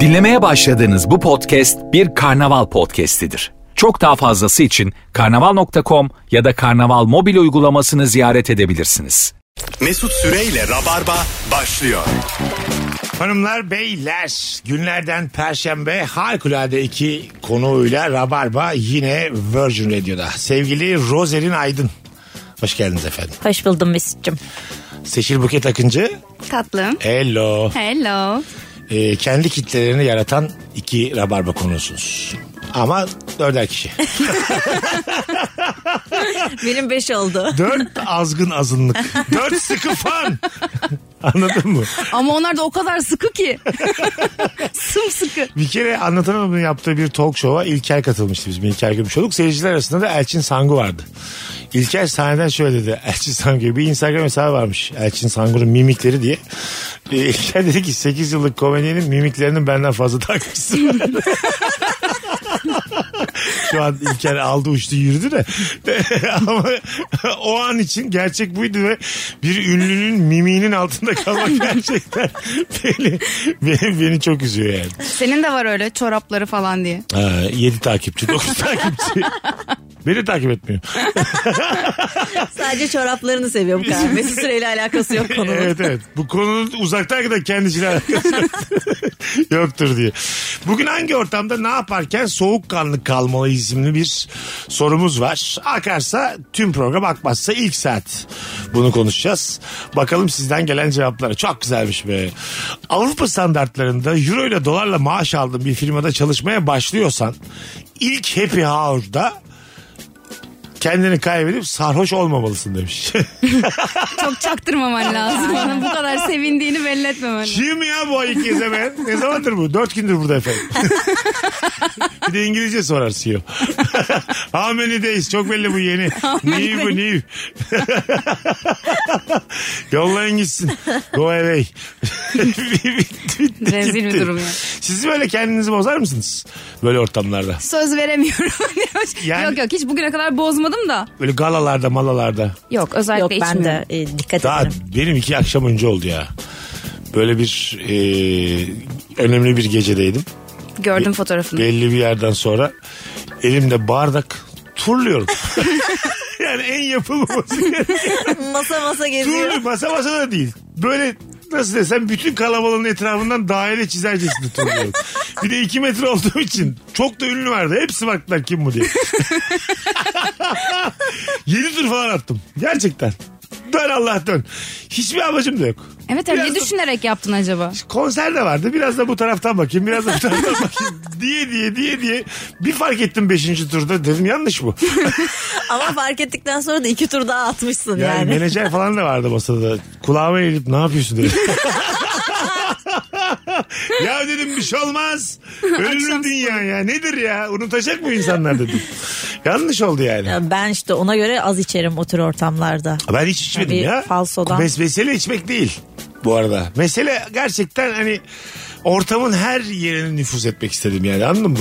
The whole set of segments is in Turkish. Dinlemeye başladığınız bu podcast bir karnaval podcastidir. Çok daha fazlası için karnaval.com ya da karnaval mobil uygulamasını ziyaret edebilirsiniz. Mesut Süreyle Rabarba başlıyor. Hanımlar, beyler, günlerden Perşembe harikulade iki konuğuyla Rabarba yine Virgin Radio'da. Sevgili Rozerin Aydın. Hoş geldiniz efendim. Hoş buldum Mesut'cum. Seçil Buket Akıncı. Tatlım. Hello. Hello. Ee, kendi kitlelerini yaratan iki Rabarba konusunuz. Ama dörder kişi. Benim beş oldu. Dört azgın azınlık. Dört sıkı fan. Anladın mı? Ama onlar da o kadar sıkı ki. Sımsıkı. Bir kere anlatamamın yaptığı bir talk show'a İlker katılmıştı bizim İlker Gümüşoluk. Seyirciler arasında da Elçin Sangu vardı. İlker sahneden şöyle dedi. Elçin Sangu'ya bir Instagram hesabı varmış. Elçin Sangu'nun mimikleri diye. Ee, İlker dedi ki 8 yıllık komedyenin mimiklerinin benden fazla takipçisi var. Şu an İlker aldı uçtu yürüdü de. Ama o an için gerçek buydu ve bir ünlünün mimiğinin altında kalmak gerçekten beni, beni, beni çok üzüyor yani. Senin de var öyle çorapları falan diye. Ha, 7 takipçi, 9 takipçi. Beni takip etmiyor. Sadece çoraplarını seviyor bu kadar. Mesut Süreyle alakası yok konunun. evet evet. Bu konunun uzaktan da kendisiyle alakası yoktur diye. Bugün hangi ortamda ne yaparken soğukkanlı kalmalı isimli bir sorumuz var. Akarsa tüm program akmazsa ilk saat bunu konuşacağız. Bakalım sizden gelen cevaplara. Çok güzelmiş be. Avrupa standartlarında euro ile dolarla maaş aldığın bir firmada çalışmaya başlıyorsan ilk happy hour'da kendini kaybedip sarhoş olmamalısın demiş. Çok çaktırmaman lazım. Bana bu kadar sevindiğini belli etmemen lazım. Kim ya bu ayık gezemen? Ne zamandır bu? Dört gündür burada efendim. bir de İngilizce sorar CEO. How many days? Çok belli bu yeni. new bu new. Yollayın gitsin. Go away. Bitti, bitti, Rezil bir gitti. durum ya. Siz böyle kendinizi bozar mısınız? Böyle ortamlarda. Söz veremiyorum. Hani Yani- Yok yok hiç bugüne kadar bozmadım da. Böyle galalarda malalarda. Yok özellikle Yok ben içmiyorum. de e, dikkat Daha ederim. benim iki akşam önce oldu ya. Böyle bir e, önemli bir gecedeydim. Gördüm fotoğrafını. belli bir yerden sonra elimde bardak turluyorum. yani en yapılmaması gereken Masa masa geziyor. turlu masa masa da değil. Böyle nasıl desem bütün kalabalığın etrafından daire çizercesini turluyorum. bir de iki metre olduğum için çok da ünlü vardı. Hepsi baktılar kim bu diye. Yedi tur falan attım. Gerçekten. Dön Allah dön. Hiçbir amacım da yok. Evet abi Biraz ne da- düşünerek yaptın acaba? konser de vardı. Biraz da bu taraftan bakayım. Biraz da bu taraftan bakayım. Diye diye diye diye. Bir fark ettim 5. turda. Dedim yanlış bu. Ama fark ettikten sonra da iki tur daha atmışsın Yani, yani. menajer falan da vardı masada. Kulağıma eğilip ne yapıyorsun dedi. ya dedim bir şey olmaz. Ölürüm dünya ya. Nedir ya? Unutacak mı insanlar dedim. Yanlış oldu yani. Ya Ben işte ona göre az içerim o tür ortamlarda. Ben hiç içmedim Bir ya. falsodan. Mes- mesele içmek değil bu arada. Mesele gerçekten hani ortamın her yerine nüfuz etmek istedim yani anladın mı?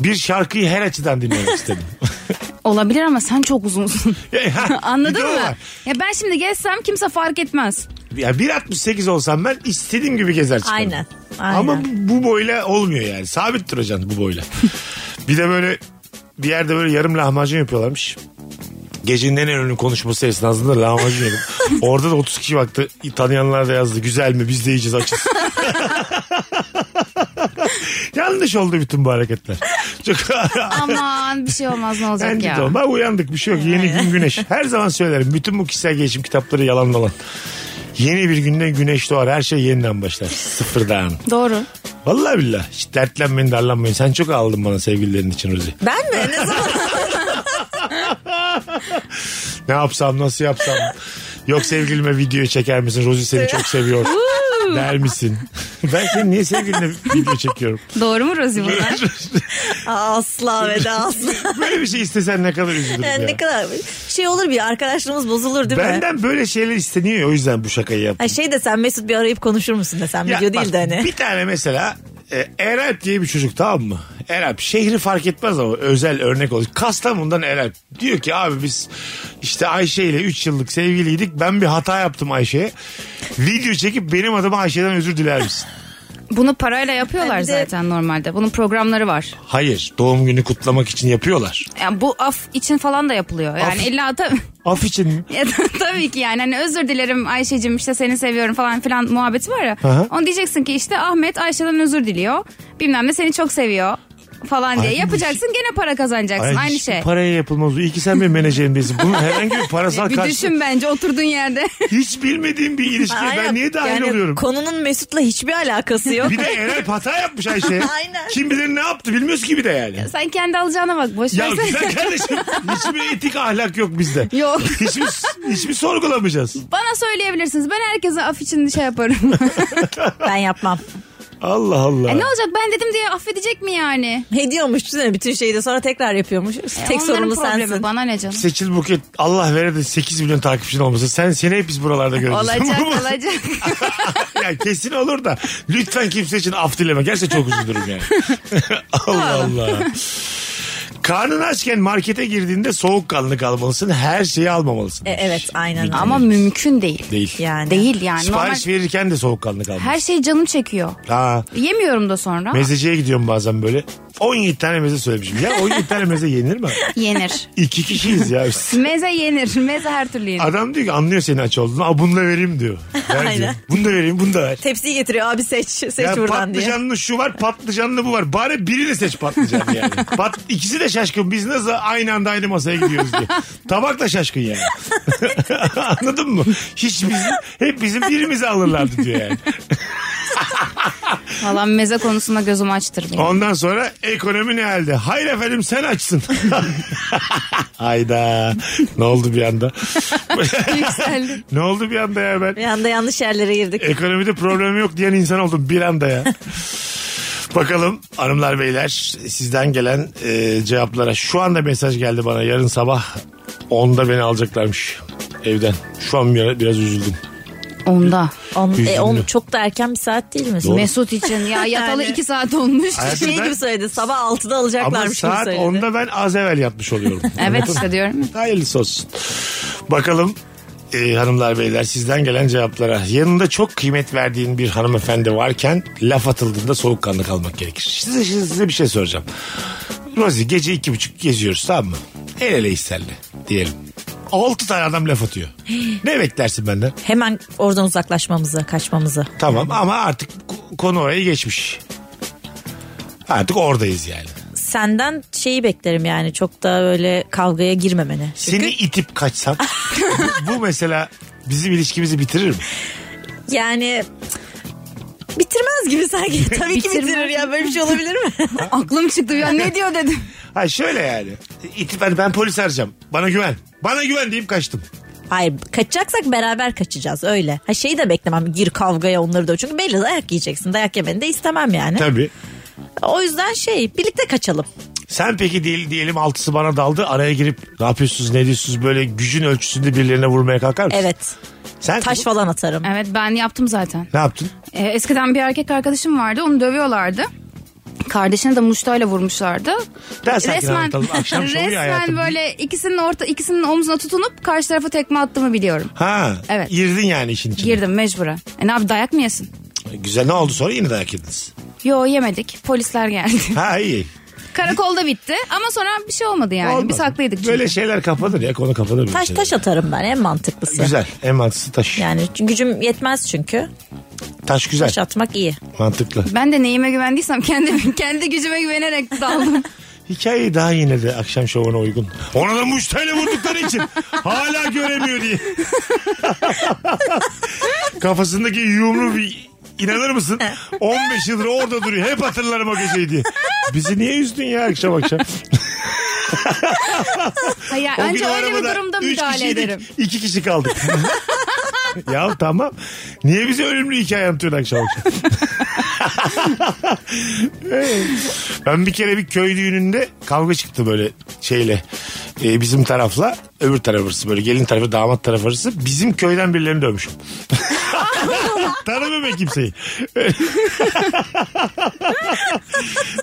Bir şarkıyı her açıdan dinlemek istedim. Olabilir ama sen çok uzunsun. Ya, bir de Anladın o mı? var. Ya ben şimdi gezsem kimse fark etmez. Ya 1.68 olsam ben istediğim gibi gezer çıkarım. Aynen. Aynen. Ama bu boyla olmuyor yani. Sabit duracaksın bu boyla. bir de böyle bir yerde böyle yarım lahmacun yapıyorlarmış. Gecenin en önemli konuşması esnasında lahmacun yedim. Orada da 30 kişi baktı. Tanıyanlar da yazdı. Güzel mi? Biz de yiyeceğiz açız. Yanlış oldu bütün bu hareketler. Çok Aman bir şey olmaz ne olacak Bence ya. de olmaz. uyandık bir şey yok. Yeni gün güneş. Her zaman söylerim. Bütün bu kişisel gelişim kitapları yalan dolan. Yeni bir günden güneş doğar. Her şey yeniden başlar. Sıfırdan. Doğru. Vallahi billah. Hiç dertlenmeyin darlanmayın. Sen çok aldın bana sevgililerin için Ruzi. Ben mi? Ne zaman? Ne yapsam nasıl yapsam. Yok sevgilime video çeker misin? Rozi seni çok seviyor. Der misin? Ben senin niye sevgiline video çekiyorum? Doğru mu Rozi bunlar? asla veda asla. Böyle bir şey istesen ne kadar üzülürüm Yani ya. ne kadar şey olur bir arkadaşlığımız bozulur değil mi? Benden böyle şeyler isteniyor ya, o yüzden bu şakayı yaptım. Ha şey de sen Mesut bir arayıp konuşur musun desem Ya video bak, değil de hani. Bir tane mesela e, Eralp diye bir çocuk tamam mı? Eralp şehri fark etmez ama özel örnek olur. Kastamonu'dan Eralp. Diyor ki abi biz işte Ayşe ile 3 yıllık sevgiliydik. Ben bir hata yaptım Ayşe'ye. Video çekip benim adıma Ayşe'den özür diler misin? Bunu parayla yapıyorlar Yani bir de- zaten normalde. Bunun programları var. Hayır doğum günü kutlamak için yapıyorlar. Yani bu af için falan da yapılıyor. Yani Af- illa da Af için mi? Ya da- tabii ki yani hani özür dilerim Ayşe'cim işte seni seviyorum falan filan muhabbeti var ya. Aha. Onu diyeceksin ki işte Ahmet Ayşe'den özür diliyor. Bilmem ne seni çok seviyor falan diye. Ay, Yapacaksın gene para kazanacaksın Ay, aynı hiç şey. Paraya yapılmaz. İyi ki sen benim menajerim değilsin. Bunun herhangi bir parasal Bir karşılığı. düşün bence oturduğun yerde. Hiç bilmediğim bir ilişkiye ben niye dahil yani oluyorum? Konunun Mesut'la hiçbir alakası yok. Bir de Erel hata yapmış Ayşe. Aynen. Kim bilir ne yaptı bilmiyoruz ki bir de yani. Sen kendi alacağına bak boş Ya versene. güzel kardeşim hiçbir etik ahlak yok bizde. Yok. Hiçbir, hiçbir sorgulamayacağız. Bana söyleyebilirsiniz. Ben herkese af için şey yaparım. Ben yapmam. Allah Allah. E ne olacak ben dedim diye affedecek mi yani? Hediyormuş düşünsene bütün şeyi de sonra tekrar yapıyormuş. Tek E, Onların sorumlu problemi, sensin. Bana ne canım? Seçil Buket Allah vere de 8 milyon takipçin olmasa sen seni hep biz buralarda göreceğiz. Olacak Bu- bu- olacak. ya kesin olur da lütfen kimse için af dileme. Gerçekten çok üzülürüm yani. Allah Allah. Karnın açken markete girdiğinde soğukkanlı kalmalısın. Her şeyi almamalısın. E, evet aynen öyle. Ama mümkün değil. Değil. yani. Değil yani. Normal, Sipariş verirken de soğukkanlı kalmalısın. her şey canım çekiyor. Ha. Yemiyorum da sonra. Mezeciye gidiyorum bazen böyle. 17 tane meze söylemişim. Ya 17 tane meze yenir mi? yenir. İki kişiyiz ya biz. Meze yenir. Meze her türlü yenir. Adam diyor ki anlıyor seni aç olduğunu. Aa, bunu da vereyim diyor. Ver diyor. Aynen. Bunu da vereyim bunu da ver. Tepsiyi getiriyor abi seç seç Ya buradan diye. patlıcanlı şu var patlıcanlı bu var. Bari birini seç patlıcanlı yani. Pat, ikisi de şaşkın. Biz nasıl aynı anda aynı masaya gidiyoruz diye. Tabak da şaşkın yani. Anladın mı? Hiç bizim, hep bizim birimizi alırlardı diyor yani. Valla meze konusunda gözüm açtır benim. Ondan sonra ekonomi ne halde? Hayır efendim sen açsın. Hayda. Ne oldu bir anda? Yükseldi. ne oldu bir anda ya ben? Bir anda yanlış yerlere girdik. Ekonomide problem yok diyen insan oldum bir anda ya. Bakalım hanımlar beyler sizden gelen e, cevaplara. Şu anda mesaj geldi bana yarın sabah 10'da beni alacaklarmış evden. Şu an bir- biraz üzüldüm. Onda. On, Üzüldüm. e, on çok da erken bir saat değil mi? Mes- Mesut için ya yatalı Yani. iki saat olmuş. Hayatım Şey ben- gibi söyledi sabah 6'da Ama alacaklarmış gibi saat söyledi. 10'da ben az evvel yatmış oluyorum. evet işte diyorum. Hayırlısı olsun. Bakalım e, hanımlar beyler sizden gelen cevaplara. Yanında çok kıymet verdiğin bir hanımefendi varken laf atıldığında soğukkanlı kalmak gerekir. Size, size, size bir şey soracağım. Rozi gece iki buçuk geziyoruz tamam mı? El eleyiz senle diyelim. Altı tane adam laf atıyor. ne beklersin benden? Hemen oradan uzaklaşmamızı, kaçmamızı. Hmm. Tamam ama artık k- konu oraya geçmiş. Artık oradayız yani. Senden şeyi beklerim yani çok da böyle kavgaya girmemeni. Seni itip kaçsam bu, bu mesela bizim ilişkimizi bitirir mi? Yani bitirmez gibi sanki. Tabii ki Bitirmez. bitirir ya böyle bir şey olabilir mi? Aklım çıktı ya ne diyor dedim. Ha şöyle yani. İtip hadi ben polis arayacağım. Bana güven. Bana güven deyip kaçtım. Hayır kaçacaksak beraber kaçacağız öyle. Ha şeyi de beklemem gir kavgaya onları da. Çünkü belli dayak yiyeceksin. Dayak yemeni de istemem yani. Tabii. O yüzden şey birlikte kaçalım. Sen peki değil diyelim altısı bana daldı. Araya girip ne yapıyorsunuz ne diyorsunuz böyle gücün ölçüsünde birilerine vurmaya kalkar mısın? Evet. Sen Taş falan atarım. Evet ben yaptım zaten. ne yaptın? Ee, eskiden bir erkek arkadaşım vardı onu dövüyorlardı. Kardeşine de muştayla vurmuşlardı. Daha sakin anlatalım. Akşam şovu ya hayatım. resmen böyle ikisinin orta ikisinin omzuna tutunup karşı tarafa tekme attığımı biliyorum. Ha. Evet. Girdin yani işin içine. Girdim mecbura. E ne abi dayak mı yesin? Güzel ne oldu sonra yine dayak yediniz. Yo yemedik. Polisler geldi. Ha iyi. Karakolda bitti ama sonra bir şey olmadı yani. Olmadı. Biz haklıydık çünkü. Böyle şeyler kapanır ya konu kapanır. böyle Taş şeyler. taş atarım ben en mantıklısı. Güzel. En mantıklısı taş. Yani çünkü gücüm yetmez çünkü. Taş güzel. Taş atmak iyi. Mantıklı. Ben de neyime güvendiysem kendi kendi gücüme güvenerek daldım. Hikayeyi daha yine de akşam şovuna uygun. Ona da muştayla vurdukları için hala göremiyor diye. Kafasındaki yumru bir inanır mısın? 15 yıldır orada duruyor. Hep hatırlarım o geceyi diye. Bizi niye üzdün ya akşam akşam? Hayır, O önce gün öyle bir arabada durumda üç müdahale kişiydik, ederim. İki kişi kaldık. ya tamam. Niye bize ölümlü hikaye anlatıyorsun akşam akşam? ben bir kere bir köy düğününde kavga çıktı böyle şeyle. Ee, bizim tarafla öbür taraf arası böyle gelin tarafı damat tarafı arası bizim köyden birilerini dövmüşüm. Tanımıyorum ben kimseyi.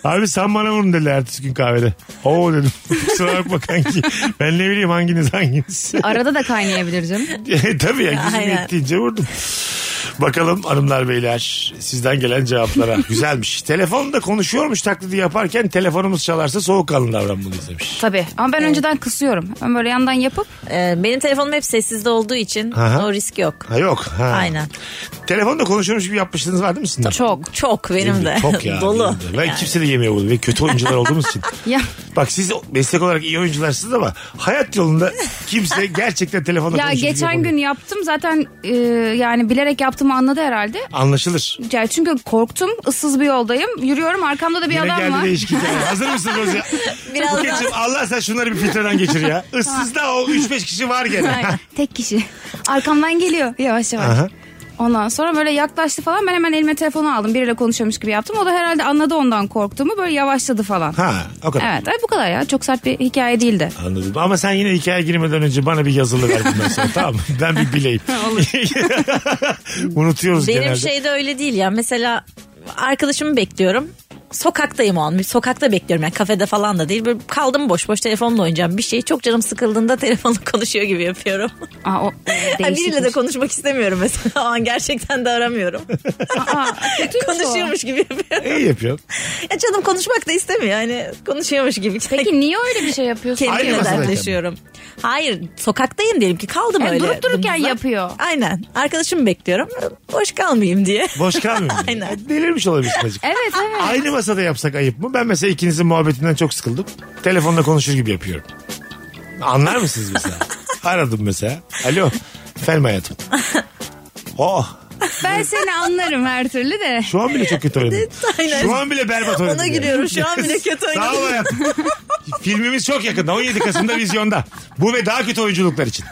Abi sen bana vurun dediler ertesi gün kahvede. Oo dedim. Kusura bakma kanki. Ben ne bileyim hanginiz hanginiz. Arada da kaynayabilir canım. Tabii ya gücüm Aynen. yettiğince vurdum. Bakalım hanımlar beyler sizden gelen cevaplara. Güzelmiş. Telefonda konuşuyormuş taklidi yaparken telefonumuz çalarsa soğukkanlı davranmalıyız demiş. Tabii ama ben önceden kısıyorum. Ben böyle yandan yapıp Ee, benim telefonum hep sessizde olduğu için Aha. o risk yok. Ha yok. Ha. Aynen. Telefonda konuşuyormuş gibi yapmışlığınız var değil mi sizin? çok. Çok benim de. Çok ya. Dolu. benim de. Ben kimse de yemiyor bunu. Ve kötü oyuncular olduğumuz için. Ya. Bak siz meslek olarak iyi oyuncularsınız ama hayat yolunda kimse gerçekten telefonda Ya konuşuyor gibi geçen yapamıyor. gün yaptım zaten e, yani bilerek yaptığımı anladı herhalde. Anlaşılır. Ya çünkü korktum ıssız bir yoldayım. Yürüyorum arkamda da bir Yine adam geldi var. değişik hikaye. Hazır mısın Rozi? Biraz Buket'cim Allah sen şunları bir filtreden geçir ya. Issızda o 3-5 kişi var gene. Aynen. Tek kişi. Arkamdan geliyor yavaş yavaş. Aha. Ondan sonra böyle yaklaştı falan ben hemen elime telefonu aldım. Biriyle konuşuyormuş gibi yaptım. O da herhalde anladı ondan korktuğumu böyle yavaşladı falan. ha o kadar. Evet ay bu kadar ya çok sert bir hikaye değildi. Anladım. Ama sen yine hikaye girmeden önce bana bir yazılı ver bundan sonra tamam mı? Ben bir bileyim. Unutuyoruz Benim genelde. şey de öyle değil ya. Mesela arkadaşımı bekliyorum. Sokaktayım o an. Bir Sokakta bekliyorum yani kafede falan da değil. Böyle kaldım boş boş telefonla oynayacağım. Bir şey çok canım sıkıldığında telefonla konuşuyor gibi yapıyorum. Aa, o Yani biriyle de değişikmiş. konuşmak istemiyorum mesela. O an gerçekten de aramıyorum. Aa, kötüymüş o. konuşuyormuş gibi yapıyorum. İyi yapıyorsun. Ya canım konuşmak da istemiyor. Yani konuşuyormuş gibi. Peki niye öyle bir şey yapıyorsun? Aynı Kendimle masadayken mi? dertleşiyorum. Hayır sokaktayım diyelim ki kaldım Yani öyle. durup dururken dımdızlak. yapıyor. Aynen arkadaşımı bekliyorum. Boş kalmayayım diye. Boş kalmıyor. mu? Aynen. Delirmiş olabilirsin azıcık. Evet evet. Aynı masada yapsak ayıp mı? Ben mesela ikinizin muhabbetinden çok sıkıldım. Telefonla konuşur gibi yapıyorum. Anlar mısınız mesela? Aradım mesela. Alo. Efendim hayatım. Oh. Ben seni anlarım her türlü de. Şu an bile çok kötü oynadım. Aynen. Şu an bile berbat oynadım. Ona yani. gülüyorum. Şu an bile kötü Sağ ol oynadım. hayatım. Filmimiz çok yakında. 17 Kasım'da vizyonda. Bu ve daha kötü oyunculuklar için.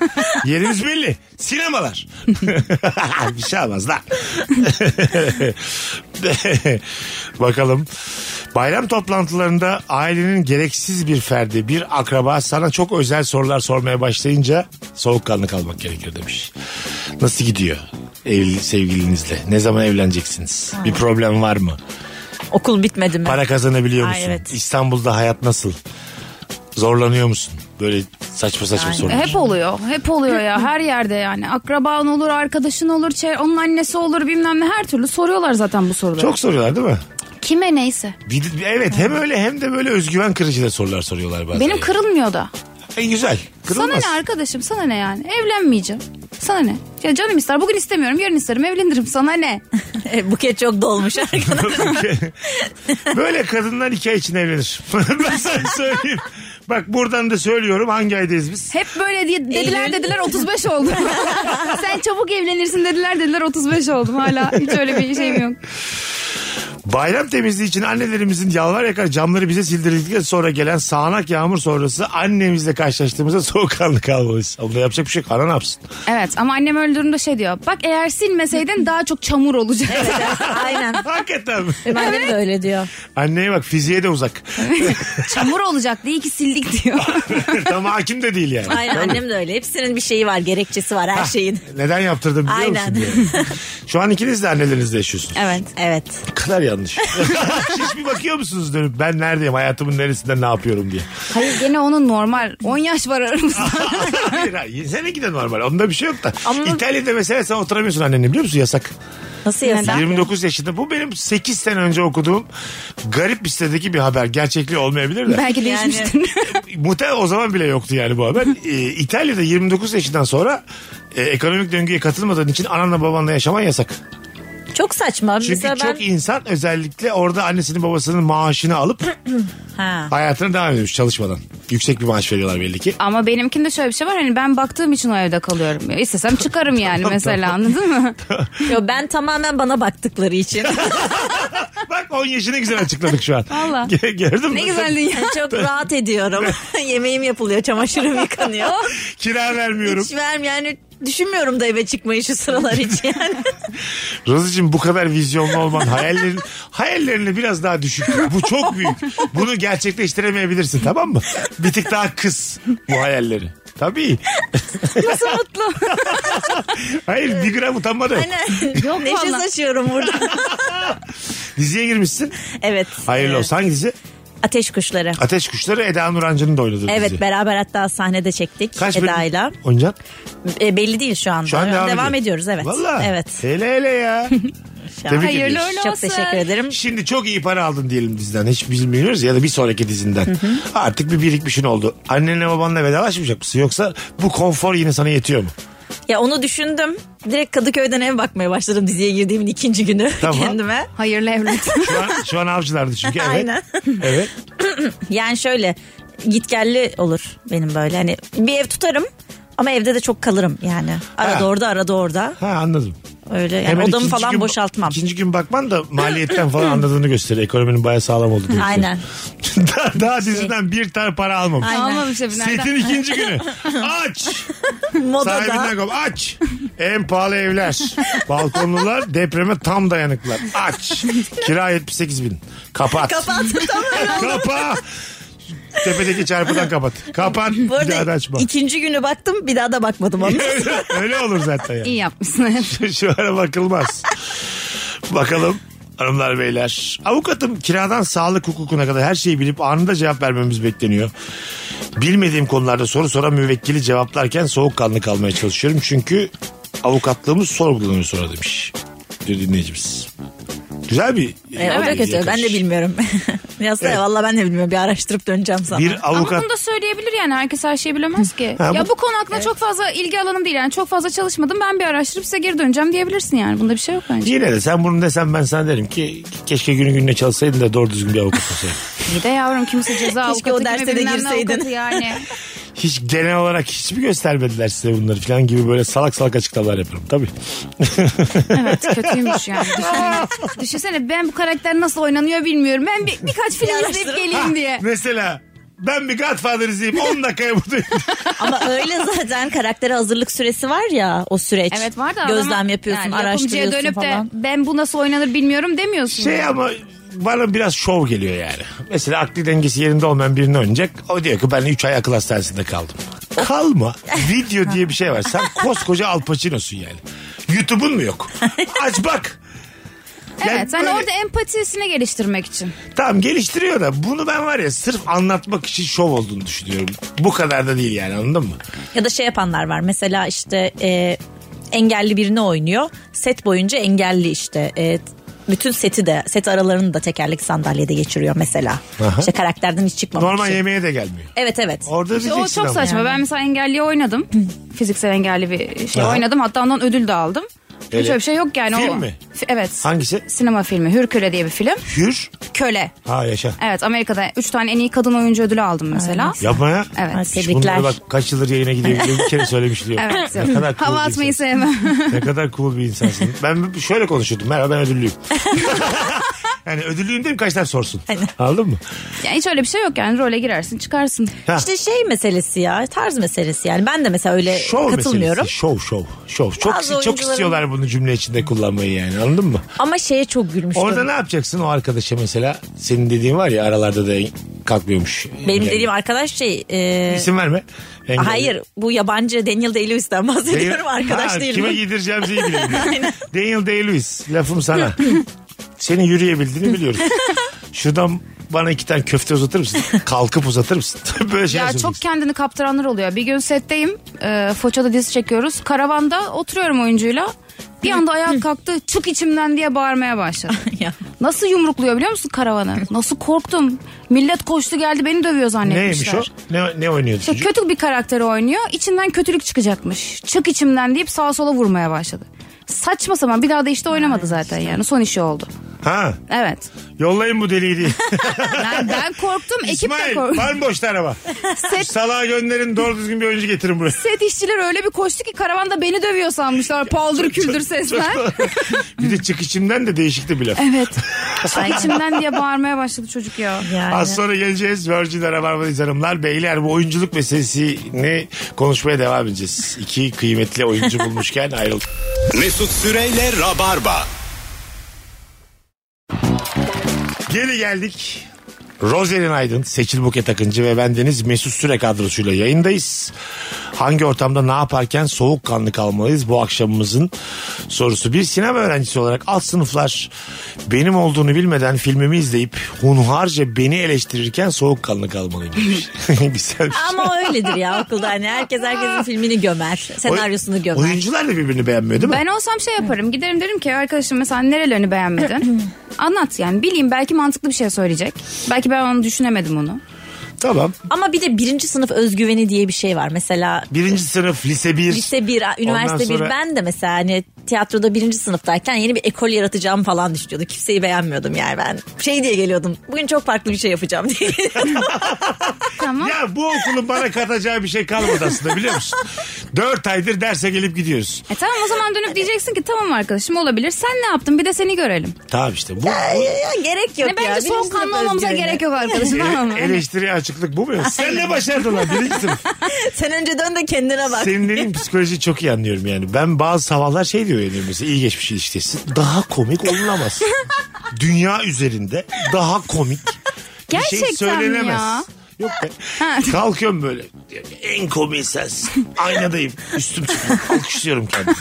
Yerimiz belli. Sinemalar. bir şey olmaz lan. Bakalım. Bayram toplantılarında ailenin gereksiz bir ferdi, bir akraba sana çok özel sorular sormaya başlayınca soğukkanlı kalmak gerekir demiş. Nasıl gidiyor evli sevgilinizle? Ne zaman evleneceksiniz? Bir problem var mı? Okul bitmedi mi? Para kazanabiliyor musun? Ay, evet. İstanbul'da hayat nasıl? Zorlanıyor musun? Böyle saçma saçma sorular. Hep oluyor. Hep oluyor ya her yerde yani. Akraban olur, arkadaşın olur, çe- onun annesi olur bilmem ne her türlü soruyorlar zaten bu soruları. Çok soruyorlar değil mi? Kime neyse. Bir de- evet hem öyle hem de böyle özgüven kırıcı da sorular soruyorlar bazen. Benim kırılmıyor da. En güzel. Kırılmaz. Sana ne arkadaşım sana ne yani? Evlenmeyeceğim. Sana ne? Ya canım ister bugün istemiyorum yarın isterim evlendiririm sana ne? E, Buket çok dolmuş arkadaşlar. böyle kadınlar iki ay için evlenir. ben sana söyleyeyim. Bak buradan da söylüyorum hangi aydayız biz? Hep böyle diye dediler Eylül. dediler 35 oldu. Sen çabuk evlenirsin dediler dediler 35 oldum hala. Hiç öyle bir şeyim yok. Bayram temizliği için annelerimizin yalvar yakar camları bize sildirdikten sonra gelen sağanak yağmur sonrası annemizle karşılaştığımızda soğukkanlı kalmalıyız. Onda yapacak bir şey yok. Ana ne yapsın? Evet ama annem öyle durumda şey diyor. Bak eğer silmeseydin daha çok çamur olacak. Aynen. Hakikaten. Benim annem de öyle diyor. Anneye bak fiziğe de uzak. çamur olacak diye ki sildik diyor. Tam hakim de değil yani. Aynen annem de öyle. Hepsinin bir şeyi var, gerekçesi var her şeyin. Neden yaptırdım biliyor Aynen. musun diye. Şu an ikiniz de annelerinizle yaşıyorsunuz. Evet. Evet. Ne kadar yanlış. Hiç bir bakıyor musunuz dönüp ben neredeyim hayatımın neresinde ne yapıyorum diye. Hayır gene onun normal. 10 yaş var aramızda. hayır hayır. Seninki de normal. Onda bir şey yok da. Ama- İtalya'da mesela sen oturamıyorsun annenle biliyor musun? Yasak. Nasıl yasak? 29 yaşında. Bu benim 8 sene önce okuduğum garip bir sitedeki bir haber. Gerçekliği olmayabilir de. Belki Yani- değişmiştir. Muhtemelen o zaman bile yoktu yani bu haber. Ee, İtalya'da 29 yaşından sonra e, ekonomik döngüye katılmadığın için ananla babanla yaşaman yasak. Çok saçma. Çünkü Mesela ben... çok insan özellikle orada annesinin babasının maaşını alıp Ha. hayatına devam ediyormuş çalışmadan. Yüksek bir maaş veriyorlar belli ki. Ama benimkinde şöyle bir şey var hani ben baktığım için o evde kalıyorum. İstesem çıkarım yani mesela anladın mı? Yo, ben tamamen bana baktıkları için. Bak 10 yaşını güzel açıkladık şu an. Valla. Ge- Gördün mü? Ne güzel dünya. Yani çok rahat ediyorum. Yemeğim yapılıyor, çamaşırım yıkanıyor. Kira vermiyorum. Hiç verm yani düşünmüyorum da eve çıkmayı şu sıralar hiç yani. Rozicim bu kadar vizyonlu olman hayallerin hayallerine biraz daha düşük. Bu çok büyük. Bunu gerçekleştiremeyebilirsin tamam mı? Bir tık daha kız bu hayalleri. Tabii. Nasıl mutlu? Hayır bir gram utanma da yok. Aynen. Yok Hani Neşe vallahi. saçıyorum burada. Diziye girmişsin. Evet. Hayırlı Evet. olsun. Hangi dizi? Ateş Kuşları. Ateş Kuşları Eda Nurancı'nın da oynadığı Evet dizi. beraber hatta sahnede çektik Kaç bölüm Eda'yla. oynayacaksın? E, belli değil şu anda. Şu an devam, ediyor. ediyoruz evet. Valla. Evet. Hele hele ya. Şu an- Tebrik Hayırlı ediyoruz. uğurlu Çok olsun. teşekkür ederim. Şimdi çok iyi para aldın diyelim diziden. Hiç bilmiyoruz ya da bir sonraki dizinden. Artık bir birikmişin oldu. Annenle babanla vedalaşmayacak mısın? Yoksa bu konfor yine sana yetiyor mu? Ya onu düşündüm. Direkt Kadıköy'den ev bakmaya başladım diziye girdiğimin ikinci günü Tamam. kendime. Hayırlı evlat. Şu an, şu an avcılardı çünkü. Evet. Aynen. Evet. Yani şöyle gitgelli olur benim böyle. Hani bir ev tutarım ama evde de çok kalırım yani. Arada Ha. orada arada orada. Ha anladım. Öyle yani Hemen odamı ikinci falan gün- boşaltmam. İkinci gün bakman da maliyetten falan anladığını gösteriyor. Ekonominin bayağı sağlam olduğunu. Aynen. Şey- daha, daha diziden bir tane para almamış. Aynen. Almamış tabii nereden? Setin ikinci günü. Aç. Modada. Sahibinden kop. Aç. En pahalı evler. Balkonlular depreme tam dayanıklar. Aç. Kira 78 bin. Kapat. Kapat. Kapat. Tamam. Kapa. Tepedeki çarpıdan kapat. Kapat. Bu Bir daha da arada açma. ikinci günü baktım bir daha da bakmadım ama. öyle, öyle olur zaten yani. İyi yapmışsın. Şu ara bakılmaz. Bakalım hanımlar beyler. Avukatım kiradan sağlık hukukuna kadar her şeyi bilip anında cevap vermemiz bekleniyor. Bilmediğim konularda soru soran müvekkili cevaplarken soğukkanlı kalmaya çalışıyorum. Çünkü avukatlığımız sorgulanıyor sonra demiş. Bir dinleyicimiz. Güzel bir E, o da yakış. kötü. Ben de bilmiyorum. Yazsa ya valla ben de bilmiyorum. Bir araştırıp döneceğim sana. Bir Ama avukat bunu da söyleyebilir yani herkes her şeyi bilemez ki. Ha, bu- ya bu konu hakkında çok fazla ilgi alanım değil yani çok fazla çalışmadım ben bir araştırıp size geri döneceğim diyebilirsin yani bunda bir şey yok bence. Yine de sen bunu desen ben sana derim ki keşke günü gününe çalışsaydın da doğru düzgün bir avukat olsaydın. İyi de yavrum kimse ceza avukatı o gibi derse de bilmem ne girseydin. avukatı yani. Hiç genel olarak hiç mi göstermediler size bunları falan gibi böyle salak salak açıklamalar yaparım tabii. Evet kötüymüş yani. Düşünsene, düşünsene ben bu karakter nasıl oynanıyor bilmiyorum. Ben bir, birkaç film izleyip geleyim diye. Mesela ben bir Godfather izleyeyim 10 dakikaya buradayım. Ama öyle zaten karaktere hazırlık süresi var ya o süreç. Evet var da adama- Gözlem yapıyorsun, yani araştırıyorsun yapımcıya dönüp falan. de ben bu nasıl oynanır bilmiyorum demiyorsun. şey ama bana biraz şov geliyor yani. Mesela akli dengesi yerinde olmayan birini oynayacak. O diyor ki ben 3 ay akıl hastanesinde kaldım. Kalma. Video diye bir şey var. Sen koskoca Al Pacino'sun yani. YouTube'un mu yok? Aç bak. Yani Evet hani böyle- orada empatisini geliştirmek için. Tamam geliştiriyor da bunu ben var ya sırf anlatmak için şov olduğunu düşünüyorum. Bu kadar da değil yani anladın mı? Ya da şey yapanlar var. Mesela işte e, engelli birini oynuyor. Set boyunca engelli işte. E, bütün seti de set aralarını da tekerlek sandalyede geçiriyor mesela. Aha. İşte karakterden hiç çıkmamak Normal için. yemeğe de gelmiyor. Evet evet. Orada İşte o diyeceksin çok ama. saçma. Ben mesela engelli oynadım. Fiziksel engelli bir şey Aha. oynadım. Hatta ondan ödül de aldım. Öyle. Hiç öyle bir şey yok yani. Film o, mi? Fi- evet. Hangisi? Sinema filmi. Hürküre diye bir film. Hür. Köle. Ha yaşa. Evet Amerika'da 3 tane en iyi kadın oyuncu ödülü aldım mesela. Yapma ya. Evet. Ha, Hiç bunları tebrikler. bak kaç yıldır yayına gidiyor biliyor, bir kere söylemiş diyor. Evet. Ne kadar cool Hava bir şey. atmayı insansın. sevmem. Ne kadar cool bir insansın. Ben şöyle konuşuyordum. Merhaba ben ödüllüyüm. yani ödüllüyüm değil mi kaç tane sorsun. Anladın mı? yani hiç öyle bir şey yok yani. Role girersin çıkarsın. Ha. İşte şey meselesi ya tarz meselesi yani ben de mesela öyle Şov katılmıyorum. meselesi. Şov şov. Şov. Çok, Bazı çok oyuncuların- istiyorlar bunu cümle içinde kullanmayı yani anladın mı? Ama şeye çok gülmüştüm. Orada ne yapacaksın o arkadaşa mesela? Senin dediğin var ya aralarda da kalkmıyormuş. Benim Engelli. dediğim arkadaş şey e, İsim verme. Engelli. hayır bu yabancı Daniel Day-Lewis'ten bahsediyorum arkadaş Ha, değil Kime mi? giydireceğim şeyi biliyorum. Daniel Day-Lewis lafım sana. Senin yürüyebildiğini biliyoruz. Şuradan bana iki tane köfte uzatır mısın? Kalkıp uzatır mısın? Böyle şeyler Ya söyleyeceksin. çok kendini kaptıranlar oluyor. Bir gün setteyim. E, Foça'da dizi çekiyoruz. Karavanda oturuyorum oyuncuyla. Bir anda ayağa kalktı. Çık içimden diye bağırmaya başladı. Ya. Nasıl yumrukluyor biliyor musun karavanı? Nasıl korktum. Millet koştu geldi beni dövüyor Neymiş zannetmişler. o? Ne, ne oynuyordu İşte çocuk? kötü bir karakteri oynuyor. İçinden kötülük çıkacakmış. Çık içimden deyip sağa sola vurmaya başladı. Saçma sapan bir daha da işte oynamadı zaten yani. Son işi oldu. Ha, Evet. yollayın bu deliği diye. Ben, ben korktum. Ekip de İsmail korktu. var mı boşta araba? Set- Salağa gönderin doğru düzgün bir oyuncu getirin buraya. Set işçiler öyle bir koştu ki karavanda beni dövüyor sanmışlar. Paldır küldür sesler. bir de çık içimden de değişikti bir laf. Evet. Çık içimden diye bağırmaya başladı çocuk ya. Yani. Az sonra geleceğiz. Virgin'de Rabarba'dayız hanımlar. Beyler bu oyunculuk meselesini konuşmaya devam edeceğiz. İki kıymetli oyuncu bulmuşken ayrıl. Mesut Süreyle Rabarba. Geri geldik. Rozerin Aydın, Seçil Buket Akıncı ve bendeniz Mesut Süre kadrosuyla yayındayız. Hangi ortamda ne yaparken soğukkanlı kalmalıyız bu akşamımızın sorusu. Bir sinema öğrencisi olarak alt sınıflar benim olduğunu bilmeden filmimi izleyip hunharca beni eleştirirken soğukkanlı kalmalıyım. demiş. Güzel bir şey. Ama öyledir ya okulda hani herkes herkesin filmini gömer. Senaryosunu gömer. Oyuncular da birbirini beğenmiyor değil mi? Ben olsam şey yaparım. Giderim derim ki arkadaşım mesela nerelerini beğenmedin? Anlat yani bileyim belki mantıklı bir şey söyleyecek. Belki ben onu düşünemedim onu. Tamam. Ama bir de birinci sınıf özgüveni diye bir şey var. Mesela Birinci sınıf, lise bir. lise bir, üniversite sonra- bir ben de mesela hani tiyatroda birinci sınıftayken yeni bir ekol yaratacağım falan düşünüyordum. Kimseyi beğenmiyordum yani ben. Şey diye geliyordum. Bugün çok farklı bir şey yapacağım diye. Tamam. Ya bu okulun bana katacağı bir şey kalmadı aslında biliyor musun? Dört aydır derse gelip gidiyoruz. E tamam o zaman dönüp diyeceksin ki tamam arkadaşım olabilir. Sen ne yaptın bir de seni görelim. Tamam işte bu, bu Ya gerek yok Ne ya. Hani bence Birinci soğuk sınıf olmamıza özgüveni. gerek yok arkadaşım. tamam mı? ele- eleştiri açıklık bu mu? Sen ne başardın lan birinci sınıf? Sen önce dön de kendine bak. Seninlerin psikolojiyi çok iyi anlıyorum yani. Ben bazı sabahlar şey diyor yani mesela iyi geçmiş ilişkisi. Daha komik olamaz. Dünya üzerinde daha komik bir şey Gerçekten söylenemez. ya. Yok be. Kalkıyorum böyle. En komik sensin. Aynadayım. Üstüm çıkıyor. Alkışlıyorum kendimi.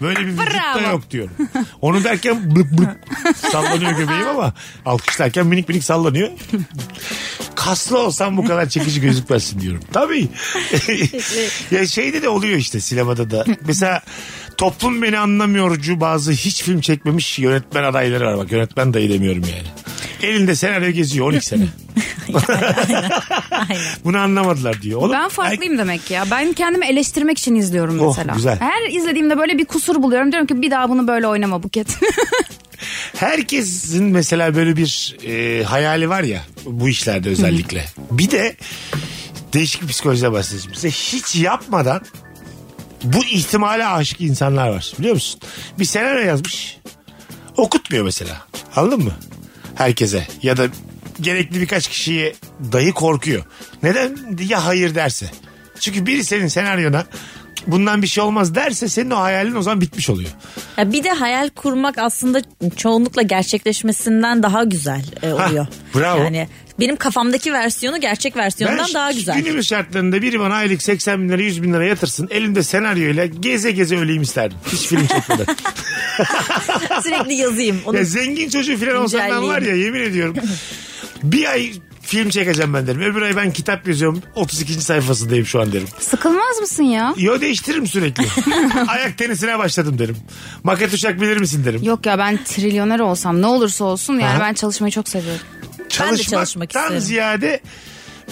Böyle bir vücutta Bravo. yok diyorum. Onu derken blık blık sallanıyor göbeğim ama alkışlarken minik minik sallanıyor. Kaslı olsam bu kadar çekici gözükmezsin diyorum. Tabii. ya şeyde de oluyor işte sinemada da. Mesela toplum beni anlamıyorcu bazı hiç film çekmemiş yönetmen adayları var. Bak yönetmen dayı demiyorum yani. Elinde senaryo geziyor 12 sene. Bunu anlamadılar diyor. Oğlum, Ben farklıyım demek ki ya. Ben kendimi eleştirmek için izliyorum Oh, mesela. güzel. Her izlediğimde böyle bir kusur buluyorum. Diyorum ki bir daha bunu böyle oynama Buket. Herkesin mesela böyle bir e, hayali var ya bu işlerde özellikle. bir de değişik bir psikolojide bahsedeceğim. Size hiç yapmadan bu ihtimale aşık insanlar var biliyor musun? Bir senaryo yazmış okutmuyor mesela anladın mı? Herkese ya da gerekli birkaç kişiye dayı korkuyor. Neden? Ya hayır derse. Çünkü biri senin senaryona bundan bir şey olmaz derse senin o hayalin o zaman bitmiş oluyor. Ya bir de hayal kurmak aslında çoğunlukla gerçekleşmesinden daha güzel e, oluyor. bravo. Yani benim kafamdaki versiyonu gerçek versiyonundan daha güzel. Günümüz şartlarında biri bana aylık 80 bin lira 100 bin lira yatırsın. Elimde senaryoyla geze geze öleyim isterdim. Hiç film çekmeden. Sürekli yazayım. Onu ya zengin çocuğu falan olsam ben var ya yemin ediyorum. bir ay film çekeceğim ben derim. Öbür ay ben kitap yazıyorum. 32. sayfasındayım şu an derim. Sıkılmaz mısın ya? Yo değiştiririm sürekli. Ayak tenisine başladım derim. Maket uçak bilir misin derim. Yok ya ben trilyoner olsam ne olursa olsun yani Aha. ben çalışmayı çok seviyorum. Ben de çalışmak Çalışmaktan isterim. ziyade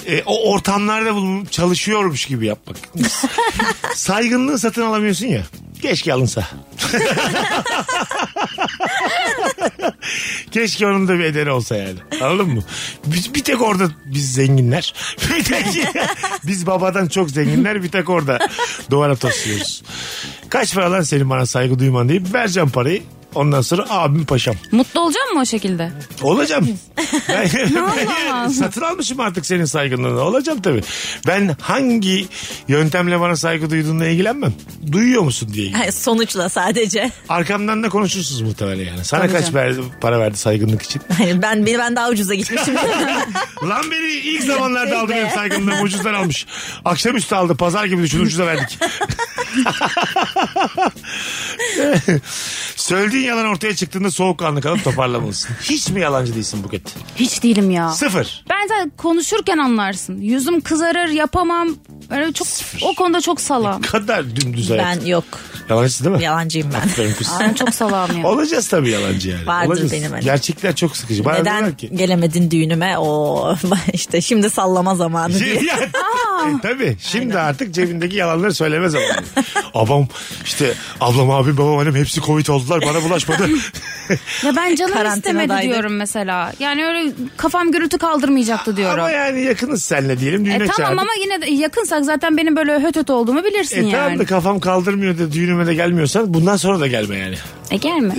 e, o ortamlarda bulunup çalışıyormuş gibi yapmak. Saygınlığı satın alamıyorsun ya. Keşke alınsa. Keşke onun da bir ederi olsa yani. Anladın mı? Biz, bir tek orada biz zenginler. Bir tek biz babadan çok zenginler. Bir tek orada duvara tosluyoruz. Kaç para lan senin bana saygı duyman deyip vereceğim parayı. Ondan sonra abim paşam. Mutlu olacak mı o şekilde? Olacağım. Ben, ben Allah. satın almışım artık senin saygınlığını. Olacağım tabii. Ben hangi yöntemle bana saygı duyduğunla ilgilenmem. Duyuyor musun diye. ilgilen- Yani sonuçla sadece. Arkamdan da konuşursunuz muhtemelen yani. Sana Tabii kaç canım. verdi, para verdi saygınlık için? Hani ben beni ben daha ucuza gitmişim. Lan beni ilk zamanlarda aldı Be. benim saygınlığım. Ucuzdan almış. Akşamüstü aldı. Pazar gibi düşün ucuza verdik. Söylediğin yalan ortaya çıktığında soğukkanlı kalıp toparlamalısın. Hiç mi yalancı değilsin Buket? Hiç değilim ya. Sıfır. ben zaten konuşurken anlarsın. Yüzüm kızarır yapamam. Öyle çok o konuda çok salam. Kadar dümdüz hayat. ben yok. Yalancısın değil mi? Yalancıyım ben. Aferin kız. Ben çok salam ya. Olacağız tabii yalancı yani. Vardır Olacağız. benim öyle. Gerçekler çok sıkıcı. Bana diyorlar Neden ki. gelemedin düğünüme? O işte şimdi sallama zamanı diye. Ya, e, tabii şimdi artık cebindeki yalanları söylemez ama. Abam işte ablam abim babam annem hepsi covid oldular bana bulaşmadı. Ya ben canım istemedi Karantinadaydık. diyorum mesela. Yani öyle kafam gürültü kaldırmayacaktı diyorum. ama yani yakınız senle diyelim düğüne E tamam çağırdık. ama yine de yakınsak zaten benim böyle höt höt olduğumu bilirsin E yani. tamam da kafam kaldırmıyor da düğünüme de gelmiyorsan bundan sonra da gelme yani. Eğer E, mi?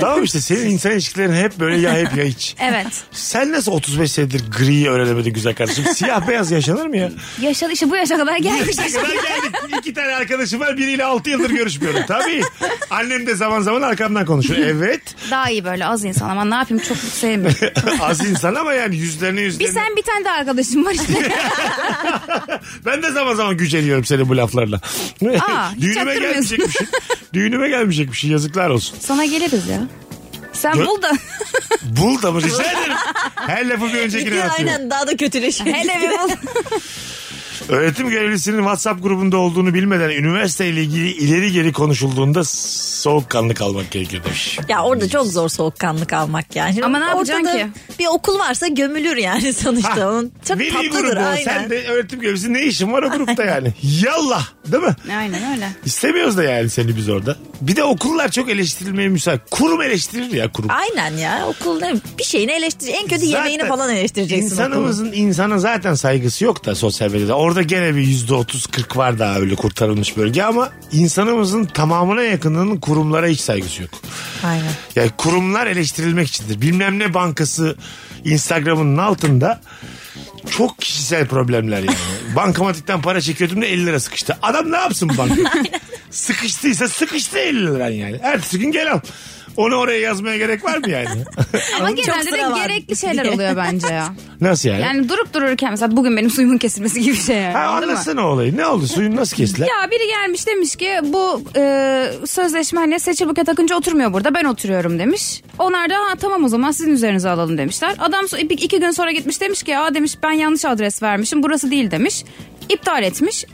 tamam işte senin insan ilişkilerin hep böyle ya hep ya hiç. Evet. Sen nasıl 35 senedir griyi öğrenemedin güzel kardeşim? Siyah beyaz yaşanır mı ya? Yaşadı işte bu yaşa kadar gelmiş. Yaşa kadar geldik. İki tane arkadaşım var biriyle 6 yıldır görüşmüyorum. Tabii. Annem de zaman zaman arkamdan konuşuyor. Evet. Daha iyi böyle az insan ama ne yapayım çok sevmiyorum. Az insan ama yani yüzlerine Bir yüzlerine. sen bir tane de arkadaşım var işte. Ben de zaman zaman güceniyorum seni bu laflarla. Aa, hiç Düğünüme çaktırmıyorsun. gelmeyecekmişsin. Düğünüme gelmeyecekmişsin. Yazıklar olsun. Sana geliriz ya. Sen Gö- bul da. Bul da mı? Rica ederim. Her lafı bir öncekine Gidiyor atıyor. aynen daha da kötüleşiyor. Hele bir bul. Öğretim görevlisinin WhatsApp grubunda olduğunu bilmeden üniversiteyle ilgili ileri geri konuşulduğunda soğukkanlı kalmak gerekiyor demiş. Ya orada çok zor soğukkanlı kalmak yani. Şimdi Ama ne yapacaksın ortada ki? Bir okul varsa gömülür yani sonuçta. Ha, Onun çok veli tatlıdır grubu o. aynen. Sen de öğretim görevlisi ne işin var o grupta yani. Yallah değil mi? Aynen öyle. İstemiyoruz da yani seni biz orada. Bir de okullar çok eleştirilmeye müsait. Kurum eleştirir ya kurum. Aynen ya okulda bir şeyini eleştir en kötü yemeğini Zaten falan eleştireceksin okulun. İnsanımızın insana zaten saygısı yok da sosyal medyada. Orada gene bir yüzde otuz kırk var daha öyle kurtarılmış bölge ama insanımızın tamamına yakınının kurumlara hiç saygısı yok. Aynen. Yani kurumlar eleştirilmek içindir. Bilmem ne bankası Instagram'ın altında çok kişisel problemler yani. Bankamatikten para çekiyordum da 50 lira sıkıştı. Adam ne yapsın banka? Sıkıştıysa sıkıştı 50 liran yani. Ertesi gün gel al. Onu oraya yazmaya gerek var mı yani? Ama Çok genelde sıra de var. gerekli şeyler oluyor bence ya. Nasıl yani? Yani durup dururken mesela bugün benim suyumun kesilmesi gibi bir şey yani. ha, anladın mı? anlatsana olayı. Ne oldu? Suyun nasıl kestiler? Ya biri gelmiş demiş ki bu e, sözleşme hani seçil buket akınca oturmuyor burada ben oturuyorum demiş. Onlar da ha, tamam o zaman sizin üzerinize alalım demişler. Adam so- iki, iki gün sonra gitmiş demiş ki aa demiş ben yanlış adres vermişim burası değil demiş. İptal etmiş.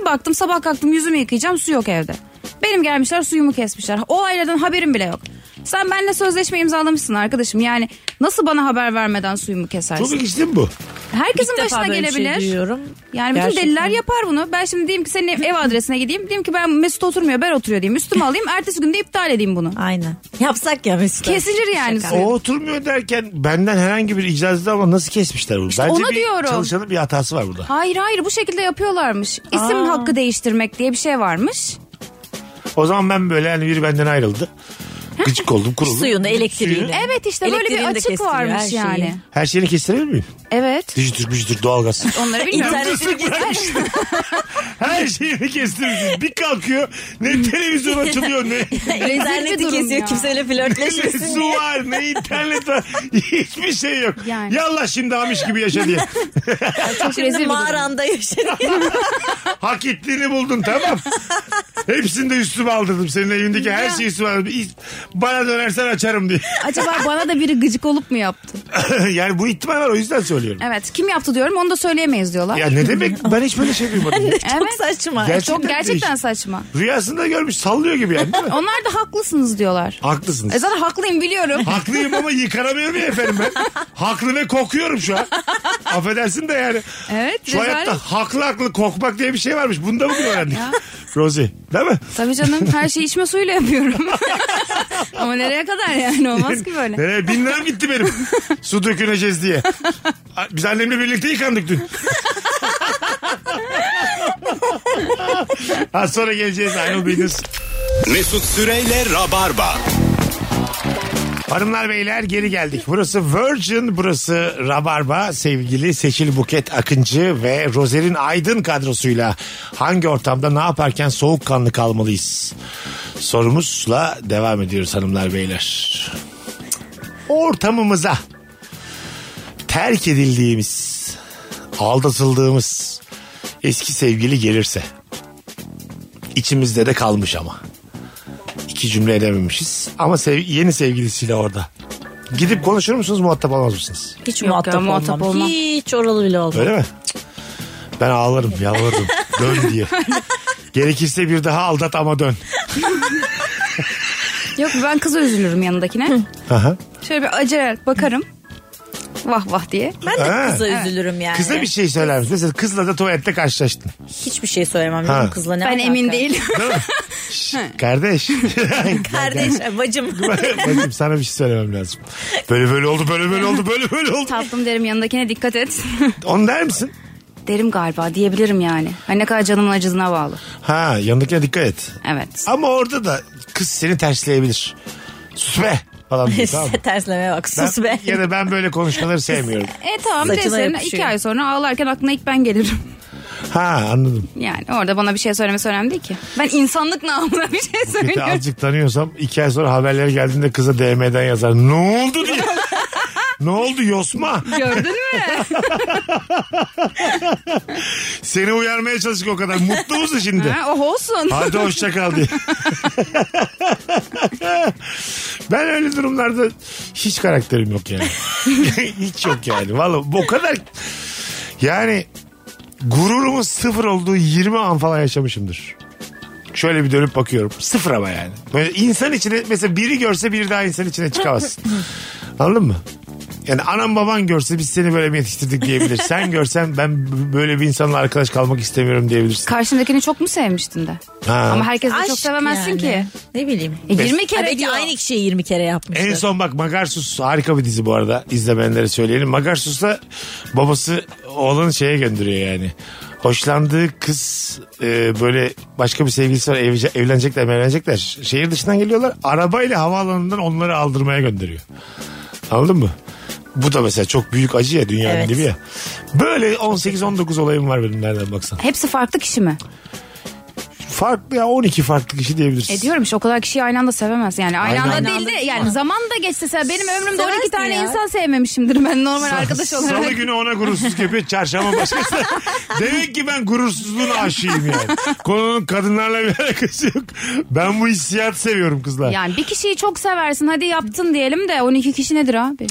Bir baktım sabah kalktım yüzümü yıkayacağım su yok evde. Benim gelmişler suyumu kesmişler. Olaylardan haberim bile yok. Sen benimle sözleşme imzalamışsın arkadaşım. Yani nasıl bana haber vermeden suyumu kesersin? Çok ilginç değil mi bu? Herkesin İlk defa başına böyle bir şey gelebilir. duyuyorum. Yani bütün Gerçekten. deliler yapar bunu. Ben şimdi diyeyim ki senin ev- ev adresine gideyim. Diyeyim ki ben Mesut oturmuyor ben oturuyor diyeyim. Üstüme alayım. Ertesi gün de iptal edeyim bunu. Aynen. Yapsak ya Mesut. Kesilir yani Şaka. su. O oturmuyor derken benden herhangi bir icazı ama nasıl kesmişler bunu? Bence onu bir diyorum. çalışanın bir hatası var burada. Hayır hayır bu şekilde yapıyorlarmış. İsim hakkı değiştirmek diye bir şey varmış. O zaman ben böyle yani biri benden ayrıldı. Gıcık oldum, kuruldum. Suyunu, elektriğini. Suyunu- Evet işte böyle bir Elektriğini de açık kestiriyor, her varmış şeyi. yani. Her şeyini kestirebilir miyim? Evet. Dijitürk, müjitürk, doğalgaz. Onları bilmiyorum. İnternetini keser. Her şeyini kestirmişiz. Bir kalkıyor ne televizyon açılıyor ne Rezil bir İnterneti durum kesiyor ya. ne kimseyle flörtleşmesin su diye. var ne internet var. Hiçbir şey yok. Yani. Yallah şimdi amiş gibi yaşa diye. Çok rezil bir Şimdi durum. mağaranda yaşadık. Hak ettiğini buldun tamam. Hepsini de üstüme aldırdım. Senin evindeki her şeyi üstüme aldırdım. Bana dönersen açarım diye. Acaba bana da biri gıcık olup mu yaptı? yani bu ihtimal var o yüzden söylüyorum. Evet. Kim yaptı diyorum onu da söyleyemeyiz diyorlar. Ya ne demek ben hiç böyle şey duymadım. Çok Evet. saçma. Gerçekten Çok gerçekten değişik. saçma. Rüyasında görmüş sallıyor gibi yani değil mi? Onlar da haklısınız diyorlar. Haklısınız. E zaten haklıyım biliyorum. Haklıyım ama yıkanamıyorum ya efendim ben. Haklı ve kokuyorum şu an. Affedersin de yani. Evet, Şu rezalet. hayatta haklı haklı kokmak diye bir şey varmış. Bunu da bugün öğrendik. Rosie değil mi? Tabii canım her şeyi içme suyuyla yapıyorum. Ama nereye kadar yani olmaz ki böyle. Nereye? Bin liram gitti benim. Su döküneceğiz diye. Biz annemle birlikte yıkandık dün. Az sonra geleceğiz ayrılmayınız. Mesut Süreyle Rabarba. Hanımlar beyler geri geldik. Burası Virgin, burası Rabarba. Sevgili Seçil Buket Akıncı ve Rozer'in Aydın kadrosuyla hangi ortamda ne yaparken soğukkanlı kalmalıyız? Sorumuzla devam ediyoruz hanımlar beyler. Ortamımıza terk edildiğimiz, aldatıldığımız eski sevgili gelirse içimizde de kalmış ama iki cümle edememişiz. Ama sev- yeni sevgilisiyle orada. Gidip konuşur musunuz muhatap olmaz mısınız? Hiç Yok ya, muhatap, muhatap olmam. olmam. Hiç oralı bile olmam. Öyle mi? Cık. Ben ağlarım yalvarırım dön diye. Gerekirse bir daha aldat ama dön. Yok ben kıza üzülürüm yanındakine. Aha. Şöyle bir acayip bakarım. Vah vah diye. Ben de Ha. kıza üzülürüm yani. Kıza bir şey söyler misin? Mesela kızla da tuvalette karşılaştın. Hiçbir şey söylemem. Ha. Benim kızla ne Ben alaka? emin değilim. Değil mi? Şş, kardeş. Kardeş, ay, bacım. Bacım sana bir şey söylemem lazım. Böyle böyle oldu böyle böyle oldu böyle böyle oldu. Tatlım derim yanındakine dikkat et. Onu der misin? derim galiba diyebilirim yani. Hani ne kadar canımın acısına bağlı. Ha yanındakine dikkat et. Evet. Ama orada da kız seni tersleyebilir. Sus be falan diyor tamam mı? Terslemeye bak sus Ben- be. Ya da ben böyle konuşmaları sevmiyorum. E tamam Saçına desin yapışıyor. iki ay sonra ağlarken aklına ilk ben gelirim. Ha anladım. Yani orada bana bir şey söylemesi önemli değil ki. Ben insanlık namına bir şey Bir de söylüyorum. azıcık tanıyorsam iki ay sonra haberler geldiğinde kıza DM'den yazar. Ne oldu diye. ne oldu yosma? Gördün mü? Seni uyarmaya çalıştık o kadar. Mutlu musun şimdi? Ha, oh olsun. Hadi hoşça kal diye. ben öyle durumlarda hiç karakterim yok yani. hiç yok yani. Vallahi bu kadar yani gururumun sıfır olduğu 20 an falan yaşamışımdır. Şöyle bir dönüp bakıyorum. Sıfır ama yani. Böyle insan içine mesela biri görse biri daha insan içine çıkamazsın. Anladın mı? Yani anam baban görse biz seni böyle mi yetiştirdik diyebilir. Sen görsen ben b- böyle bir insanla arkadaş kalmak istemiyorum diyebilirsin. Karşındakini çok mu sevmiştin de? Ha. Ama herkesi de Aşk çok sevemezsin yani. ki. Ne bileyim. E, 20 Ha, kere belki diyor. aynı kişiyi 20 kere yapmıştır. En son bak Magarsus harika bir dizi bu arada. İzlemeyenlere söyleyelim. Magarsus'ta babası oğlanı şeye gönderiyor yani. Hoşlandığı kız e, böyle başka bir sevgilisi var evlenecek- evlenecekler evlenecekler. Şehir dışından geliyorlar. Arabayla havaalanından onları aldırmaya gönderiyor. Anladın mı? Bu da mesela çok büyük acı ya dünyanın Evet. gibi ya. Böyle 18-19 olayım var benim nereden baksan. Hepsi farklı kişi mi? Farklı ya 12 farklı kişi diyebilirsin. E diyorum işte o kadar kişiyi aynı anda sevemez. Yani aynı, Aynı anda anda. değil de yani zaman da geçse se- benim ömrümde Seversin 12 tane ya. insan sevmemişimdir ben normal arkadaş olarak. Salı günü ona gurursuz yapıyor. Çarşamba başkası. Demek ki ben gurursuzluğun aşığıyım yani. Konunun kadınlarla bir alakası yok. Ben bu hissiyatı seviyorum kızlar. Yani bir kişiyi çok seversin hadi yaptın diyelim de 12 kişi nedir abi? E,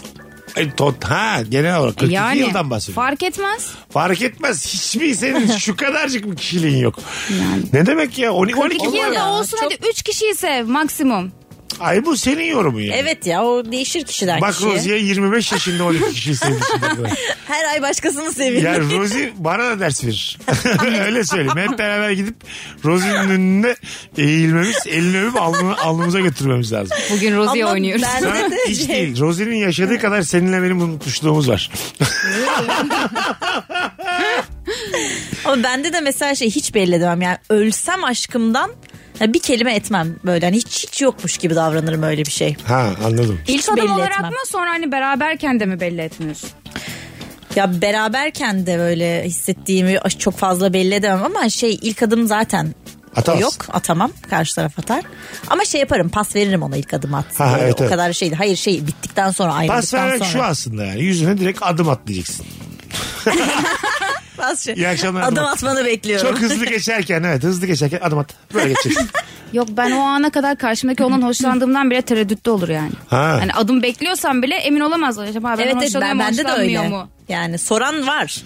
E, tot, ha genel olarak 42 yani yıldan bahsediyorum. fark etmez. Fark etmez. Hiçbir senin şu kadarcık bir kişiliğin yok. Ne demek ya? 12, 12 2 Olur yılda ya, olsun çok- hadi 3 kişiyi sev maksimum. Ay bu senin yorumun yani. Evet ya o değişir kişiden Bak kişiye. Rozi'ye 25 yaşında 12 kişiyi sevdi şimdi kadar. Her ay başkasını seviyor. Yani Rosie bana da ders verir. Öyle söyleyeyim. Hep beraber gidip Rosie'nin önünde eğilmemiz, elini öpüp alnı, alnımıza götürmemiz lazım. Bugün Rozi Ama oynuyoruz. ben- Sana hiç değil. Rosie'nin yaşadığı kadar seninle benim unutmuşluğumuz var. Ama bende de mesela şey hiç belli edemem. Yani ölsem aşkımdan ya bir kelime etmem böyle. Hani hiç hiç yokmuş gibi davranırım öyle bir şey. Ha anladım. İlk Hiç adım belli olarak etmem. mı sonra hani beraberken de mi belli etmiyorsun? Ya beraberken de böyle hissettiğimi aş- çok fazla belli edemem ama şey ilk adım zaten Atamazsın. yok atamam karşı taraf atar. Ama şey yaparım pas veririm ona ilk adım atsın. Ha, Böyle evet, o evet. kadar şeydi. Hayır şey bittikten sonra Pas ayrıldıktan vermek sonra. şu aslında yani. Yüzüne direkt adım atlayacaksın. Pas şey- İyi akşamlar, adım Adım at. atmanı bekliyorum. Çok hızlı geçerken evet hızlı geçerken adım at. Böyle geçeceksin. Yok ben o ana kadar karşımdaki olan hoşlandığımdan bile tereddütte olur yani. Ha. Hani adım bekliyorsan bile emin olamaz. Acaba ben Evet, evet hoşlanıyor ben, mu bende de hoşlanmıyor öyle. mu? Yani soran var.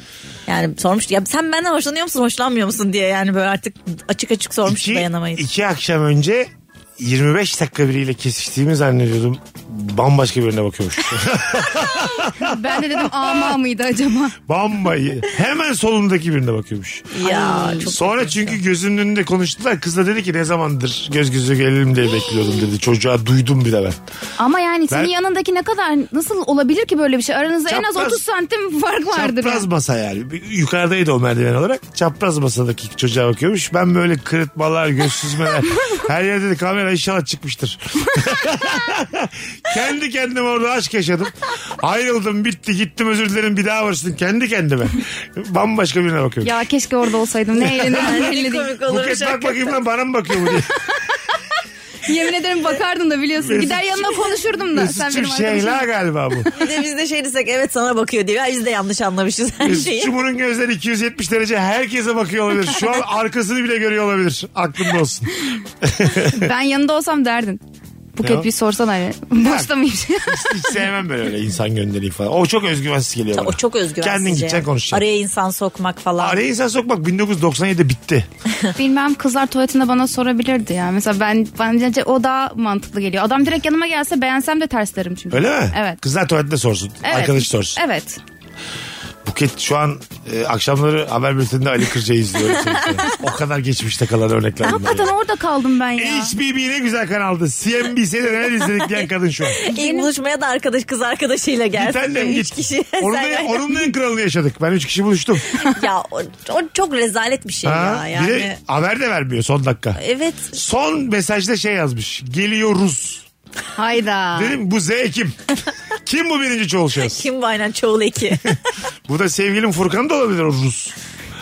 Yani sormuş ya sen benden hoşlanıyor musun hoşlanmıyor musun diye yani böyle artık açık açık sormuş İki, dayanamayız. iki akşam önce 25 dakika biriyle kesiştiğimi zannediyordum. Bambaşka birine bakıyormuş. Ben de dedim ama mıydı acaba? Bambayı. Hemen solundaki birine bakıyormuş. Ya çok Sonra çünkü gözümün önünde konuştular. Kız da dedi ki ne zamandır göz göze gelelim diye bekliyordum dedi. Çocuğa duydum bir de ben. Ama yani senin Ben- yanındaki ne kadar nasıl olabilir ki böyle bir şey? Aranızda en az Çapraz- 30 santim fark vardır. Çapraz ya. masa yani. Bir- Yukarıdaydı o merdiven olarak. Çapraz masadaki çocuğa bakıyormuş. Ben böyle kırıtmalar, göz süzmeler. Her yerde de kamera inşallah çıkmıştır. Kendi kendime orada aşk yaşadım. Ayrıldım bitti gittim özür dilerim bir daha varsın. Kendi kendime. Bambaşka birine bakıyorum. Ya keşke orada olsaydım. Ne eğlenirdim ne Ne eğlenirdim. komik olurmuş Buket bak hakikaten. bakayım lan bana mı bakıyor bu diye. Yemin ederim bakardım da biliyorsun. Gider yanına konuşurdum da. Sen Mesut'cum benim arkadaşım. Şeyla galiba bu. Bir de biz de şey desek evet sana bakıyor diye. Ay, Biz de yanlış anlamışız her şeyi. Çumur'un gözleri 270 derece herkese bakıyor olabilir. Şu an arkasını bile görüyor olabilir. Aklında olsun. Ben yanında olsam derdin. Ya. Buket bir sorsana. hani. Boşta mıyım? Hiç, hiç sevmem böyle öyle insan gönderiyi falan. O çok özgüvensiz geliyor bana. O çok özgüvensizce. Kendin gideceksin konuşacaksın. Araya insan sokmak falan. Araya insan sokmak 1997'de bitti. Bilmem kızlar tuvaletinde bana sorabilirdi ya. Mesela ben bence o daha mantıklı geliyor. Adam direkt yanıma gelse beğensem de ters derim çünkü. Öyle mi? Evet. Kızlar tuvalette sorsun. Evet. Arkadaş sorsun. Evet. Buket Buket şu an e, akşamları haber bülteninde Ali Kırca'yı izliyorum. o kadar geçmişte kalan örnekler bunlar. Hakikaten orada kaldım ben ya. HBB ne güzel kanaldı. CNBC'de neler izledik diyen kadın şu an. İlk buluşmaya da arkadaş kız arkadaşıyla Bir gelsin. tane Üç git. kişi. Onunla, Sen- onunla en kralını yaşadık. Ben üç kişi buluştum. ya o, o çok rezalet bir şey Ha, ya. Yani. Bir de haber de vermiyor son dakika. Evet. Son mesajda şey yazmış. Geliyoruz. Hayda. Dedim bu Z kim? kim bu birinci çoğul şahıs? Kim bu aynen çoğul eki? Bu da sevgilim Furkan da olabilir o Rus.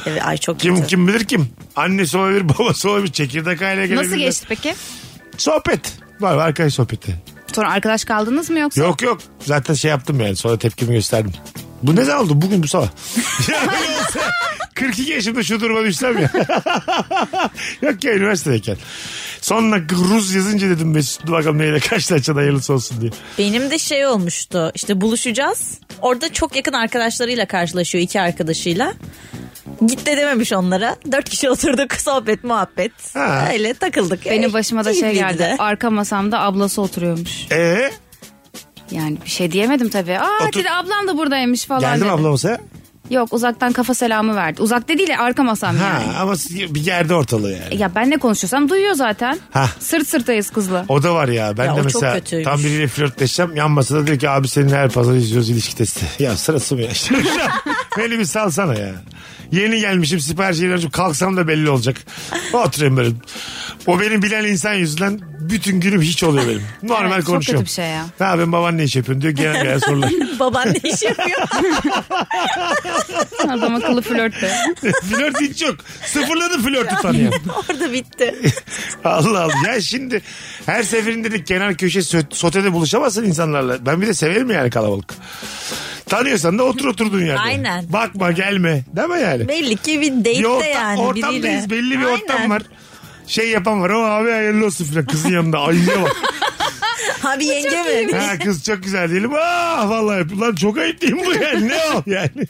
Evet, Ay çok Kim kötü. kim bilir kim? Annesi olabilir, babası olabilir, çekirdek aile gelebilir. Nasıl geçti peki? Sohbet. Var var arkadaş sohbeti. Sonra arkadaş kaldınız mı yoksa? Yok yok. Zaten şey yaptım yani. Sonra tepkimi gösterdim. Bu ne zaman oldu? Bugün bu sabah. ya öyle olsa 42 yaşımda şu duruma düşsem ya. yok ya üniversitedeyken. Son dakika Rus yazınca dedim Mesut dur bakalım neyle karşılaşacaksın hayırlısı olsun diye. Benim de şey olmuştu. İşte buluşacağız. Orada çok yakın arkadaşlarıyla karşılaşıyor iki arkadaşıyla. Git de dememiş onlara. Dört kişi oturduk sohbet muhabbet. Ha. Öyle takıldık. Ee, Benim başıma da şey Keyifliydi geldi. de. Arka masamda ablası oturuyormuş. Ee, Yani bir şey diyemedim tabii. Aa Otur- dedi ablam da buradaymış falan. geldim dedi. abla masaya. Yok uzaktan kafa selamı verdi. Uzak değil ya arka masam Ha, yani. ama bir yerde ortalığı yani. Ya ben ne konuşuyorsam duyuyor zaten. Ha. Sırt sırtayız kızla. O da var ya. Ben Ya de o çok mesela kötüymüş. tam biriyle flörtleşeceğim. Yan masada diyor ki abi senin her pazar izliyoruz ilişki testi. Ya sırası mı ya? Beni bir salsana ya. Yeni gelmişim sipariş veriyorum. Kalksam da belli olacak. Oturayım böyle. O benim bilen insan yüzünden bütün günüm hiç oluyor benim. Normal Evet, çok konuşuyorum. kötü bir şey ya. Ne yapayım baban ne iş yapıyorsun diyor. Genel genel sorular. Baban ne iş yapıyor? Adam akıllı flört de. Flört hiç yok. Sıfırladı flörtü tanıyan. Orada bitti. Allah Allah. Ya şimdi her seferinde de kenar köşe sö- sotede buluşamazsın insanlarla. Ben bir de severim yani kalabalık. Tanıyorsan da otur oturduğun yerde. Aynen. Bakma gelme. Değil mi yani? Belli ki bir date Bir orta- de yani ortamdayız. biriyle. Belli bir ortam Aynen. var. Şey yapan var. O abi hayırlı olsun filan. Kızın yanında. Ay ne bak. Abi yenge mi? Ha kız çok güzel değilim. Ah vallahi lan çok ayıp değil mi bu yani? Ne o yani?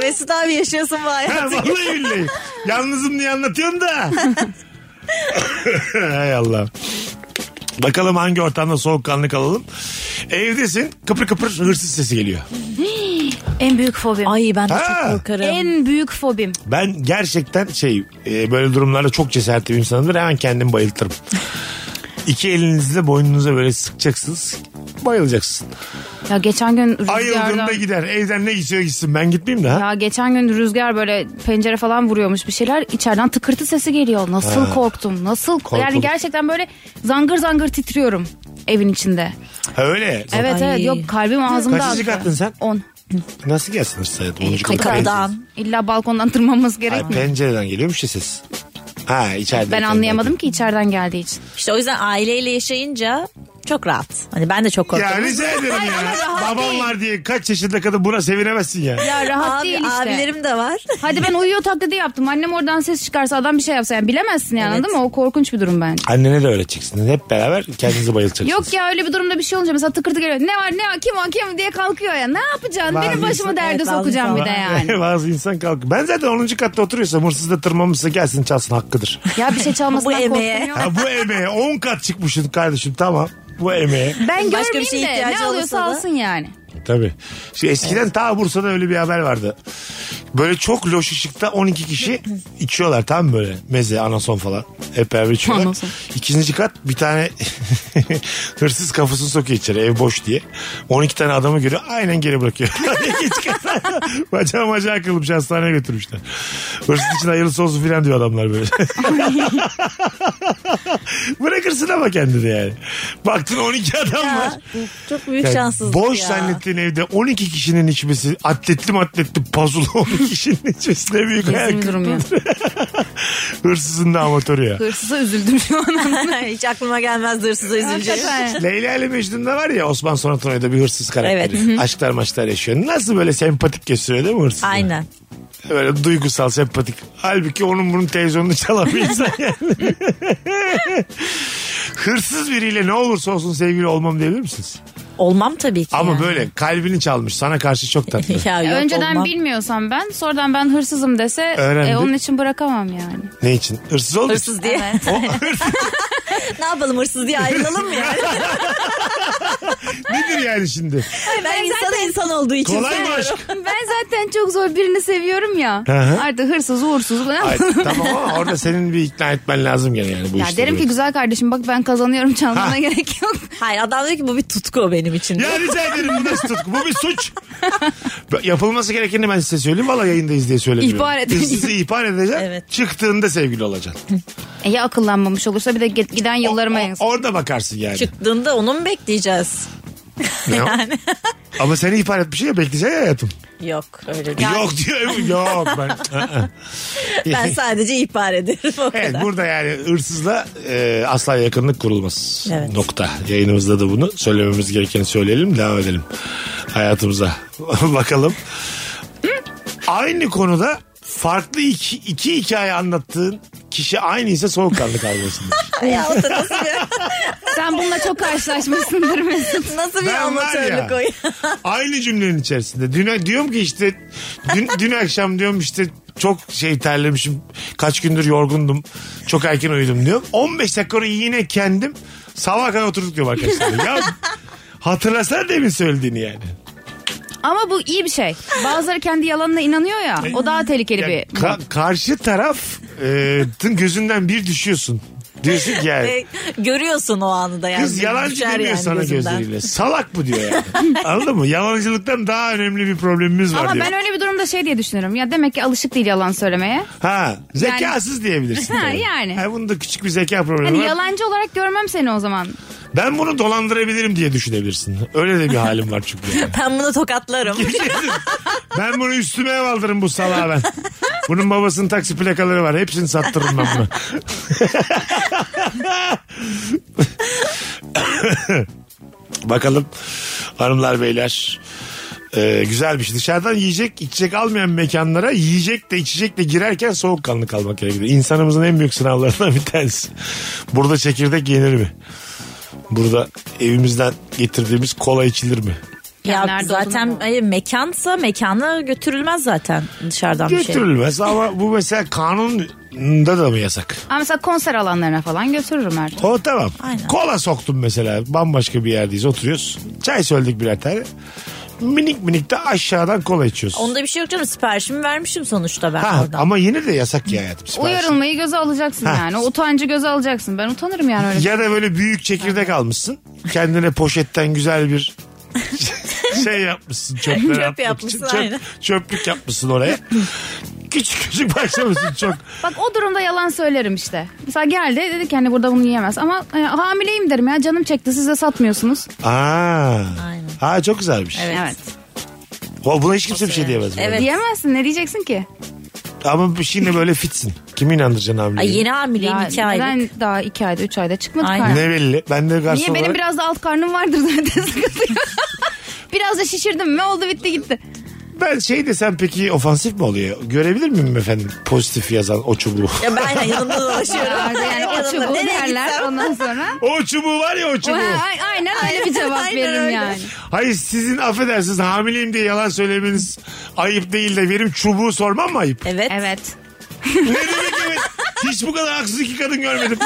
Mesut abi yaşıyorsun bu Ha, hayatı. vallahi billahi. Yalnızım diye anlatıyorsun da. Hay Allah. Bakalım hangi ortamda soğukkanlı kalalım. Evdesin kıpır kıpır hırsız sesi geliyor. En büyük fobim. Ay ben de Ha. çok korkarım. En büyük fobim. Ben gerçekten şey e, böyle durumlarda çok cesaretli bir insanımdır. Hemen kendimi bayıltırım. İki elinizle boynunuza böyle sıkacaksınız. Bayılacaksın. Ya geçen gün rüzgardan... Ayıldığında gider. Evden ne gidiyor gitsin. Ben gitmeyeyim de. ha. Ya geçen gün rüzgar böyle pencere falan vuruyormuş bir şeyler. içeriden tıkırtı sesi geliyor. Nasıl korktum. Nasıl Korkuluk. yani gerçekten böyle zangır zangır titriyorum evin içinde. Ha, öyle. Evet Ay. evet yok kalbim ağzımda. Kaçıncı ağrıyor. kattın sen? On. Nasıl gelsin hırsız hayatım? Onuncu kat- Yukarıdan. İlla balkondan tırmanması gerek Ay, mi? pencereden geliyormuş ya ses. Ha içeride. Ben anlayamadım ki içeriden geldiği için. İşte o yüzden aileyle yaşayınca çok rahat. Hani ben de çok korkarım. Ya rica ederim ya. Babam var diye kaç yaşında kadın buna sevinemezsin ya. Ya rahat Abi, değil işte. Abilerim de var. Hadi ben uyuyor taklidi yaptım. Annem oradan ses çıkarsa adam bir şey yapsa yani bilemezsin yani anladın mı? O korkunç bir durum bence. Annene de öğreteceksin. Hep beraber kendinizi bayıltacaksınız. Yok ya öyle bir durumda bir şey olunca mesela tıkırtı geliyor. Ne var ne var kim o kim diye kalkıyor ya. Ne yapacaksın? Bazı Benim başımı insan- derde Evet, bazı sokacağım bir de insanlar- yani. Bazı insan kalkıyor. Ben zaten 10. katta oturuyorsam hırsız da tırmanmışsa gelsin çalsın hakkıdır. Ya bir şey çalmasından Bu emeğe. korktum yok. ha, bu emeğe 10 kat çıkmışsın kardeşim tamam. Bu emeğe. Ben Başka bir görmeyeyim şeye de ihtiyacı ne alıyorsa olursa da- alsın yani. Tabii. Şimdi eskiden ta Bursa'da öyle bir haber vardı. Böyle çok loş ışıkta 12 kişi içiyorlar tam böyle meze, anason falan. Hep beraber içiyorlar. Anason. İkinci kat bir tane hırsız kafasını sokuyor içeri ev boş diye. 12 tane adamı görüyor aynen geri bırakıyor. İkinci kat. bacağı macağı kırılmış hastaneye götürmüşler. Hırsız için hayırlısı olsun filan diyor adamlar böyle. Bırakırsın ama kendini yani. Baktın 12 adam var. Ya, çok büyük Yani şanssızlık boş ya. zannettiğin evde 12 kişinin içmesi atletli matletli pazulu 12 kişinin içmesi ne büyük hayal Kesin bir durum ya. kırıklığı. Hırsızın da amatörü ya. Hırsıza üzüldüm şu an. Hiç aklıma gelmez hırsıza üzüleceğim. Leyla ile Mecnun'da var ya Osman Sonat Oyun'da bir hırsız karakteri. Evet. Hı Aşklar maçlar yaşıyor. Nasıl böyle sempatik gösteriyor değil mi hırsız? Aynen. Böyle duygusal sempatik. Halbuki onun bunun televizyonunu çalan bir insan yani. hırsız biriyle ne olursa olsun sevgili olmam diyebilir misiniz? Olmam tabii ki. Ama yani. böyle kalbini çalmış sana karşı çok tatlı. ya yok, Önceden olmam. bilmiyorsam ben sonradan ben hırsızım dese Öğrendi. e, onun için bırakamam yani. ne için? Hırsız olmuş. Hırsız diye. Evet. ne yapalım hırsız diye ayrılalım mı yani? Nedir yani şimdi? ben insan insan olduğu için. Kolay mı aşk? Ben zaten çok zor birini seviyorum ya. Hı hı. Artık hırsız uğursuz. Ay, E, tamam ama orada senin bir ikna etmen lazım gene yani bu ya işte. derim ki Evet. güzel kardeşim bak ben kazanıyorum Ha. çalmana gerek yok. Hayır adam diyor ki bu bir tutku benim için. Ya rica ederim bu nasıl tutku? Bu bir suç. Yapılması gerekeni ben size söyleyeyim. Valla yayındayız diye söylemiyorum. İhbar edeceğim. Sizi ihbar edeceğim. Evet. Çıktığında sevgili olacaksın. E ya akıllanmamış olursa bir de ge- giden yıllarıma yazık. Orada bakarsın yani. Çıktığında onu mu bekleyeceğiz? Ne o? Ama seni ihbar etmiş ya bekleyeceksin ya hayatım. Yok öyle değil. Yok diyor. Yok ben. Aa. Ben sadece ihbar ederim o Evet kadar. burada yani hırsızla e, asla yakınlık kurulmaz. Evet. Nokta. Yayınımızda da bunu söylememiz gerekeni söyleyelim devam edelim. Hayatımıza bakalım. Aynı konuda farklı iki, iki hikaye anlattığın kişi aynıysa soğukkanlı kavgasında. Ya o da nasıl bir, Sen bununla çok karşılaşmışsındır Mesut. nasıl bir Ben var amatörlük ya. o ya? Aynı cümlenin içerisinde. Dün, diyorum ki işte dün, dün akşam diyorum işte çok şey terlemişim. Kaç gündür yorgundum. Çok erken uyudum diyorum. 15 dakika sonra yine kendim sabah kadar oturduk diyorum arkadaşlar. ya hatırlasana demin söylediğini yani. Ama bu iyi bir şey. Bazıları kendi yalanına inanıyor ya. O daha tehlikeli Yani bir. ka- karşı taraf e, tın gözünden bir düşüyorsun. Diyorsun ki yani. Ve E, görüyorsun o anı da yani. Kız yalancı Düşer demiyor yani sana gözünden. gözleriyle. Salak bu diyor yani. Anladın mı? Yalancılıktan daha önemli bir problemimiz var Ama diyor. ben öyle bir durumda şey diye düşünüyorum. Ya demek ki alışık değil yalan söylemeye. Ha, zekasız diyebilirsin. Ha, tabii. yani. Ha, bunda küçük bir zeka problemi Hani var. yalancı olarak görmem seni o zaman. Ben bunu dolandırabilirim diye düşünebilirsin. Öyle de bir halim var çünkü. yani. Ben bunu tokatlarım. ben bunu üstüme ev aldırım bu salağa ben. Bunun babasının taksi plakaları var. Hepsini sattırırım ben bunu. Bakalım hanımlar beyler. Ee, güzel bir şey. Dışarıdan yiyecek içecek almayan mekanlara yiyecek de içecek de girerken soğukkanlı kalmak gerekir. İnsanımızın en büyük sınavlarından bir tanesi. Burada çekirdek yenir mi? Burada evimizden getirdiğimiz kola içilir mi? ya Nerede zaten olduğunu hayır, mekansa mekana götürülmez zaten dışarıdan bir şey. Götürülmez ama bu mesela kanunda da mı yasak? Ama mesela konser alanlarına falan götürürüm her. şey. O tamam. Aynen. Kola soktum mesela. Bambaşka bir yerdeyiz oturuyoruz. Çay söyledik birer tane. Minik minik de aşağıdan kola içiyoruz. Onda bir şey yok canım siparişimi vermişim sonuçta ben Ha, oradan. ama yine de yasak ya hayatım. sipariş. Uyarılmayı göze alacaksın Ha. yani. O utancı göze alacaksın. Ben utanırım yani öyle. Ya da böyle büyük çekirdek almışsın. Kendine poşetten güzel bir şey yapmışsın. Çöpler Çöp atmak yapmışsın, için. Çöp- aynen. çöplük yapmışsın oraya. küçük küçük başlamışsın çok. Bak o durumda yalan söylerim işte. Mesela geldi dedi ki hani burada bunu yiyemez. Ama e, hamileyim derim ya canım çekti siz de satmıyorsunuz. Aa. Aynen. Ha çok güzelmiş. Evet. O, buna hiç kimse bir şey diyemez. bu arada. Evet. Diyemezsin ne diyeceksin ki? Ama şimdi böyle fitsin. Kimi inandıracaksın hamile? Ay yeni hamileyim Ya iki aylık. Ben daha iki ayda üç ayda çıkmadı Aynen. karnım. Ne belli. Ben de garson Niye benim olarak- biraz da alt karnım vardır zaten sıkıntı yok. Biraz da şişirdim mi oldu bitti gitti. Ben şey desem peki ofansif mi oluyor? Görebilir miyim efendim pozitif yazan o çubuğu? Ya ben aynen yanımda dolaşıyorum. Yani o Yanımda çubuğu nereye derler gitsem? ondan sonra. o çubuğu var ya o O- çubuğu. a- Aynen öyle bir cevap Aynen veririm öyle. yani. Hayır sizin affedersiniz hamileyim diye yalan söylemeniz ayıp değil de benim çubuğu sormam mı ayıp? Evet. Evet. ne demek evet? Hiç bu kadar haksız iki kadın görmedim.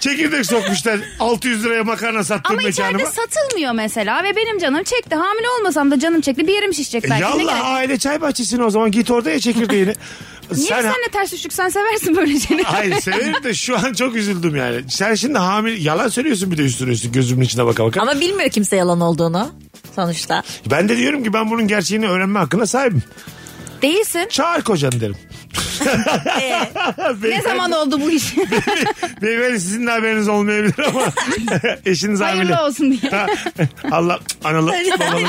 Çekirdek sokmuşlar 600 liraya makarna sattığım Ama içeride mekanıma. satılmıyor mesela ve benim canım çekti. Hamile olmasam da canım çekti. Bir yerim şişecek E, belki. Ne Yallah gerek? aile çay bahçesine o zaman git orada ya çekirdeğini. Niye Sen- senle ters düştük? Sen seversin böyle şeyleri. Hayır severim de şu an çok üzüldüm yani. Sen şimdi hamile yalan söylüyorsun bir de üstüne üstü gözümün içine baka baka. Ama bilmiyor kimse yalan olduğunu sonuçta. Ben de diyorum ki ben bunun gerçeğini öğrenme hakkına sahibim. Değilsin. Çağır kocanı derim. Ee, Ne zaman oldu bu iş? Beyefendi sizin de haberiniz olmayabilir ama eşiniz hamile. Hayırlı olsun diye. Ha, Allah analı babalı.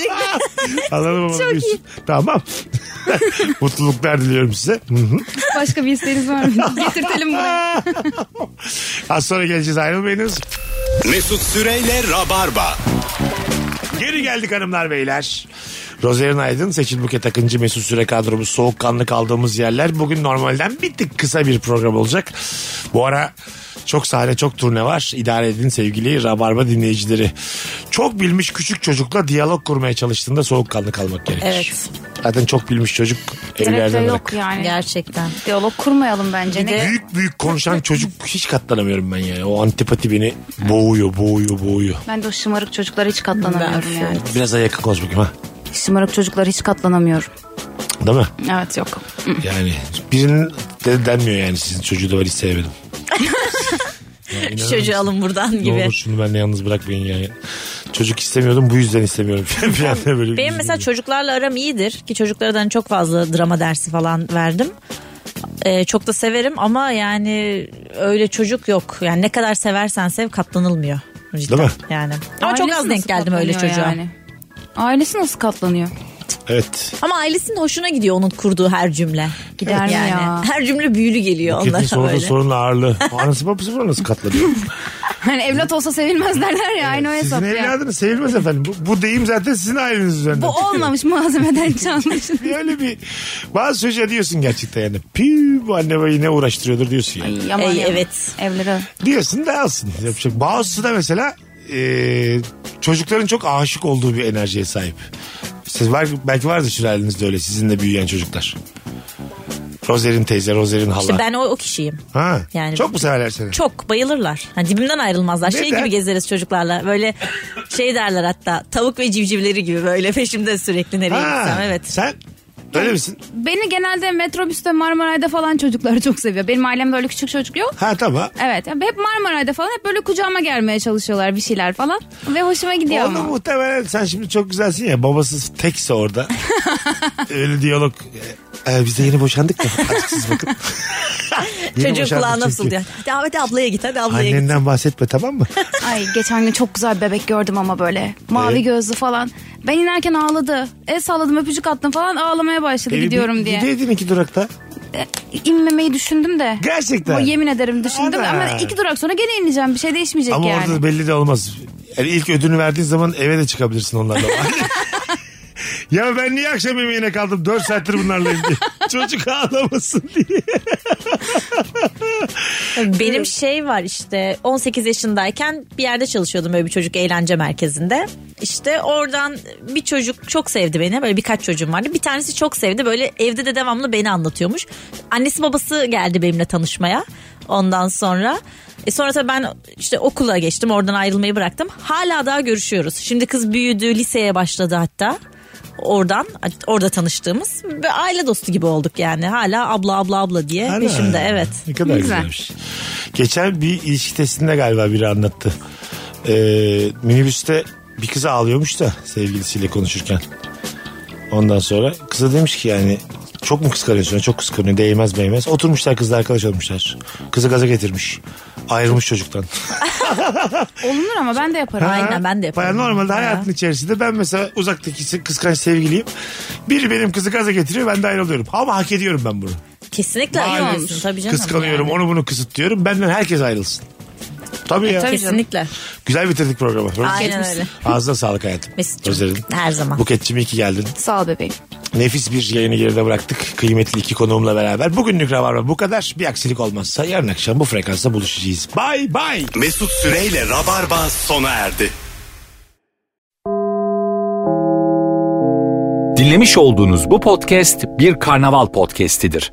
Analı babalı Çok büyüsün. Tamam. Mutluluklar diliyorum size. Hı hı. Başka bir isteğiniz var mı? Getirtelim buraya. Az sonra geleceğiz ayrılmayınız. Mesut Süreyle Rabarba. Geri geldik hanımlar beyler. Rozerin Aydın, Seçil Buket Akıncı, Mesut Süre kadromuz soğukkanlı kaldığımız yerler. Bugün normalden bir tık kısa bir program olacak. Bu ara Çok sahne çok turne var. İdare edin sevgili Rabarba dinleyicileri. Çok bilmiş küçük çocukla diyalog kurmaya çalıştığında soğukkanlı kalmak gerekir. Evet. Zaten çok bilmiş çocuk Gerek de evlerden yok bırak. yani. Gerçekten. Diyalog kurmayalım bence. Ne? Büyük büyük konuşan çocuk hiç katlanamıyorum ben yani. O antipati beni boğuyor, boğuyor, boğuyor. Ben de o şımarık çocuklara hiç katlanamıyorum Ben- yani. Biraz daha yakın konuş bakayım ha. Şımarık çocuklara hiç katlanamıyorum. Değil mi? Evet yok. Yani birinin de denmiyor yani sizin çocuğu da var hiç sevmedim. Ya inanır Çocuğu alın buradan Ne gibi. olur şunu benle yalnız bırakmayın yani. Çocuk istemiyordum bu yüzden istemiyorum. Bir anda böyle bir Benim mesela çocuklarla aram iyidir ki çocuklardan çok fazla drama dersi falan verdim. Ee, çok da severim ama yani öyle çocuk yok. Yani ne kadar seversen sev katlanılmıyor. Cidden. Değil mi? Yani. Ama çok Ailesi az nasıl denk geldim öyle katlanıyor çocuğa. yani? Ailesi nasıl katlanıyor? Evet. Ama ailesinin hoşuna gidiyor onun kurduğu her cümle. Gider mi yani. ya? Her cümle büyülü geliyor Kedinin onlara sorduğu böyle. sorunun ağırlığı. Anası babası buna nasıl katlanıyor? Hani evlat olsa sevilmez derler ya aynı o sizin hesap ya. evladınız sevilmez efendim. Bu, bu deyim zaten sizin aileniz üzerinde. Bu olmamış malzemeden çalmış. Böyle bir bazı çocuğa diyorsun gerçekten yani. Piu bu anne babayı ne uğraştırıyordur diyorsun yani. Ay, aman Ey, ya. evet. Evleri. Diyorsun da alsın. Yapacak. Bazısı da mesela e, çocukların çok aşık olduğu bir enerjiye sahip. Siz var, belki vardır sülalenizde öyle sizinle büyüyen çocuklar. Rozer'in teyze, Rozer'in hala. İşte ben o, o kişiyim. ha, yani- çok mu severler seni? Çok bayılırlar. Hani dibimden ayrılmazlar. Şey Neden? gibi gezeriz çocuklarla. Böyle şey derler hatta tavuk ve civcivleri gibi böyle peşimde sürekli nereye Ha, gitsem. Evet. Sen öyle misin? Beni genelde metrobüste Marmaray'da falan çocuklar çok seviyor. Benim ailemde öyle küçük çocuk yok. Ha tamam. Evet yani hep Marmaray'da falan hep böyle kucağıma gelmeye çalışıyorlar bir şeyler falan. Ve hoşuma gidiyor Onu ama. muhtemelen sen şimdi çok güzelsin ya babasız tekse orada. Öyle diyalog. Ee, biz de yeni boşandık da açıksız bakın. Yeni Çocuğun boşandık kulağı nasıl çünkü. diyor. Davet ablaya git hadi ablaya git. Annenden bahsetme tamam mı? Ay geçen gün çok güzel bir bebek gördüm ama böyle. Mavi Ee? gözlü falan. Ben inerken ağladı. El salladım öpücük attım falan ağlamaya başladı gidiyorum bir- diye. Gideydin iki durakta. İnmemeyi düşündüm de. Gerçekten. O yemin ederim düşündüm Ana. ama iki durak sonra gene ineceğim. Bir şey değişmeyecek Ama yani. orada belli de olmaz. Yani ilk ödünü verdiğin zaman eve de çıkabilirsin onlarla. ya ben niye akşam yemeğine kaldım? 4 saattir bunlarlayım diye. Çocuk ağlamasın diye. Benim şey var işte 18 yaşındayken bir yerde çalışıyordum böyle bir çocuk eğlence merkezinde. İşte oradan bir çocuk çok sevdi beni. Böyle birkaç çocuğum vardı. Bir tanesi çok sevdi. Böyle evde de devamlı beni anlatıyormuş. Annesi babası geldi benimle tanışmaya. Ondan sonra e sonra tabii ben işte okula geçtim. Oradan ayrılmayı bıraktım. Hala daha görüşüyoruz. Şimdi kız büyüdü, liseye başladı hatta. Oradan orada tanıştığımız ve aile dostu gibi olduk yani. Hala abla abla abla diye Ana. peşimde evet. Ne kadar Güzel. güzelmiş. Geçen bir ilişki testinde galiba biri anlattı. Ee, minibüste bir kız ağlıyormuş da sevgilisiyle konuşurken. Ondan sonra kıza demiş ki yani çok mu kıskanıyorsun? Çok kıskanıyor. Değmez değmez. Oturmuşlar kızla arkadaş olmuşlar. Kızı gaza getirmiş. Ayrılmış çocuktan. Olunur ama ben de yaparım. Ha. Aynen, ben de yaparım. Baya normalde Ha. hayatın içerisinde ben mesela uzaktaki kıskanç sevgiliyim. Biri benim kızı gaza getiriyor ben de ayrılıyorum. Ama hak ediyorum ben bunu. Kesinlikle Maalesef. ayrılıyorsun tabii canım. Kıskanıyorum yani. onu bunu kısıtlıyorum. Benden herkes ayrılsın. Tabii ya. tabii. Kesinlikle. Güzel bitirdik programı. Aynen öyle. Ağzına sağlık hayatım. Mesut'cum, Özledim. her zaman. Buketçim iyi ki geldin. Sağ ol bebeğim. Nefis bir yayını geride bıraktık. Kıymetli iki konuğumla beraber. Bugünlük Rabarba bu kadar. Bir aksilik olmazsa yarın akşam bu frekansta buluşacağız. Bay bay. Mesut Süreyle Rabarba sona erdi. Dinlemiş olduğunuz bu podcast bir karnaval podcastidir.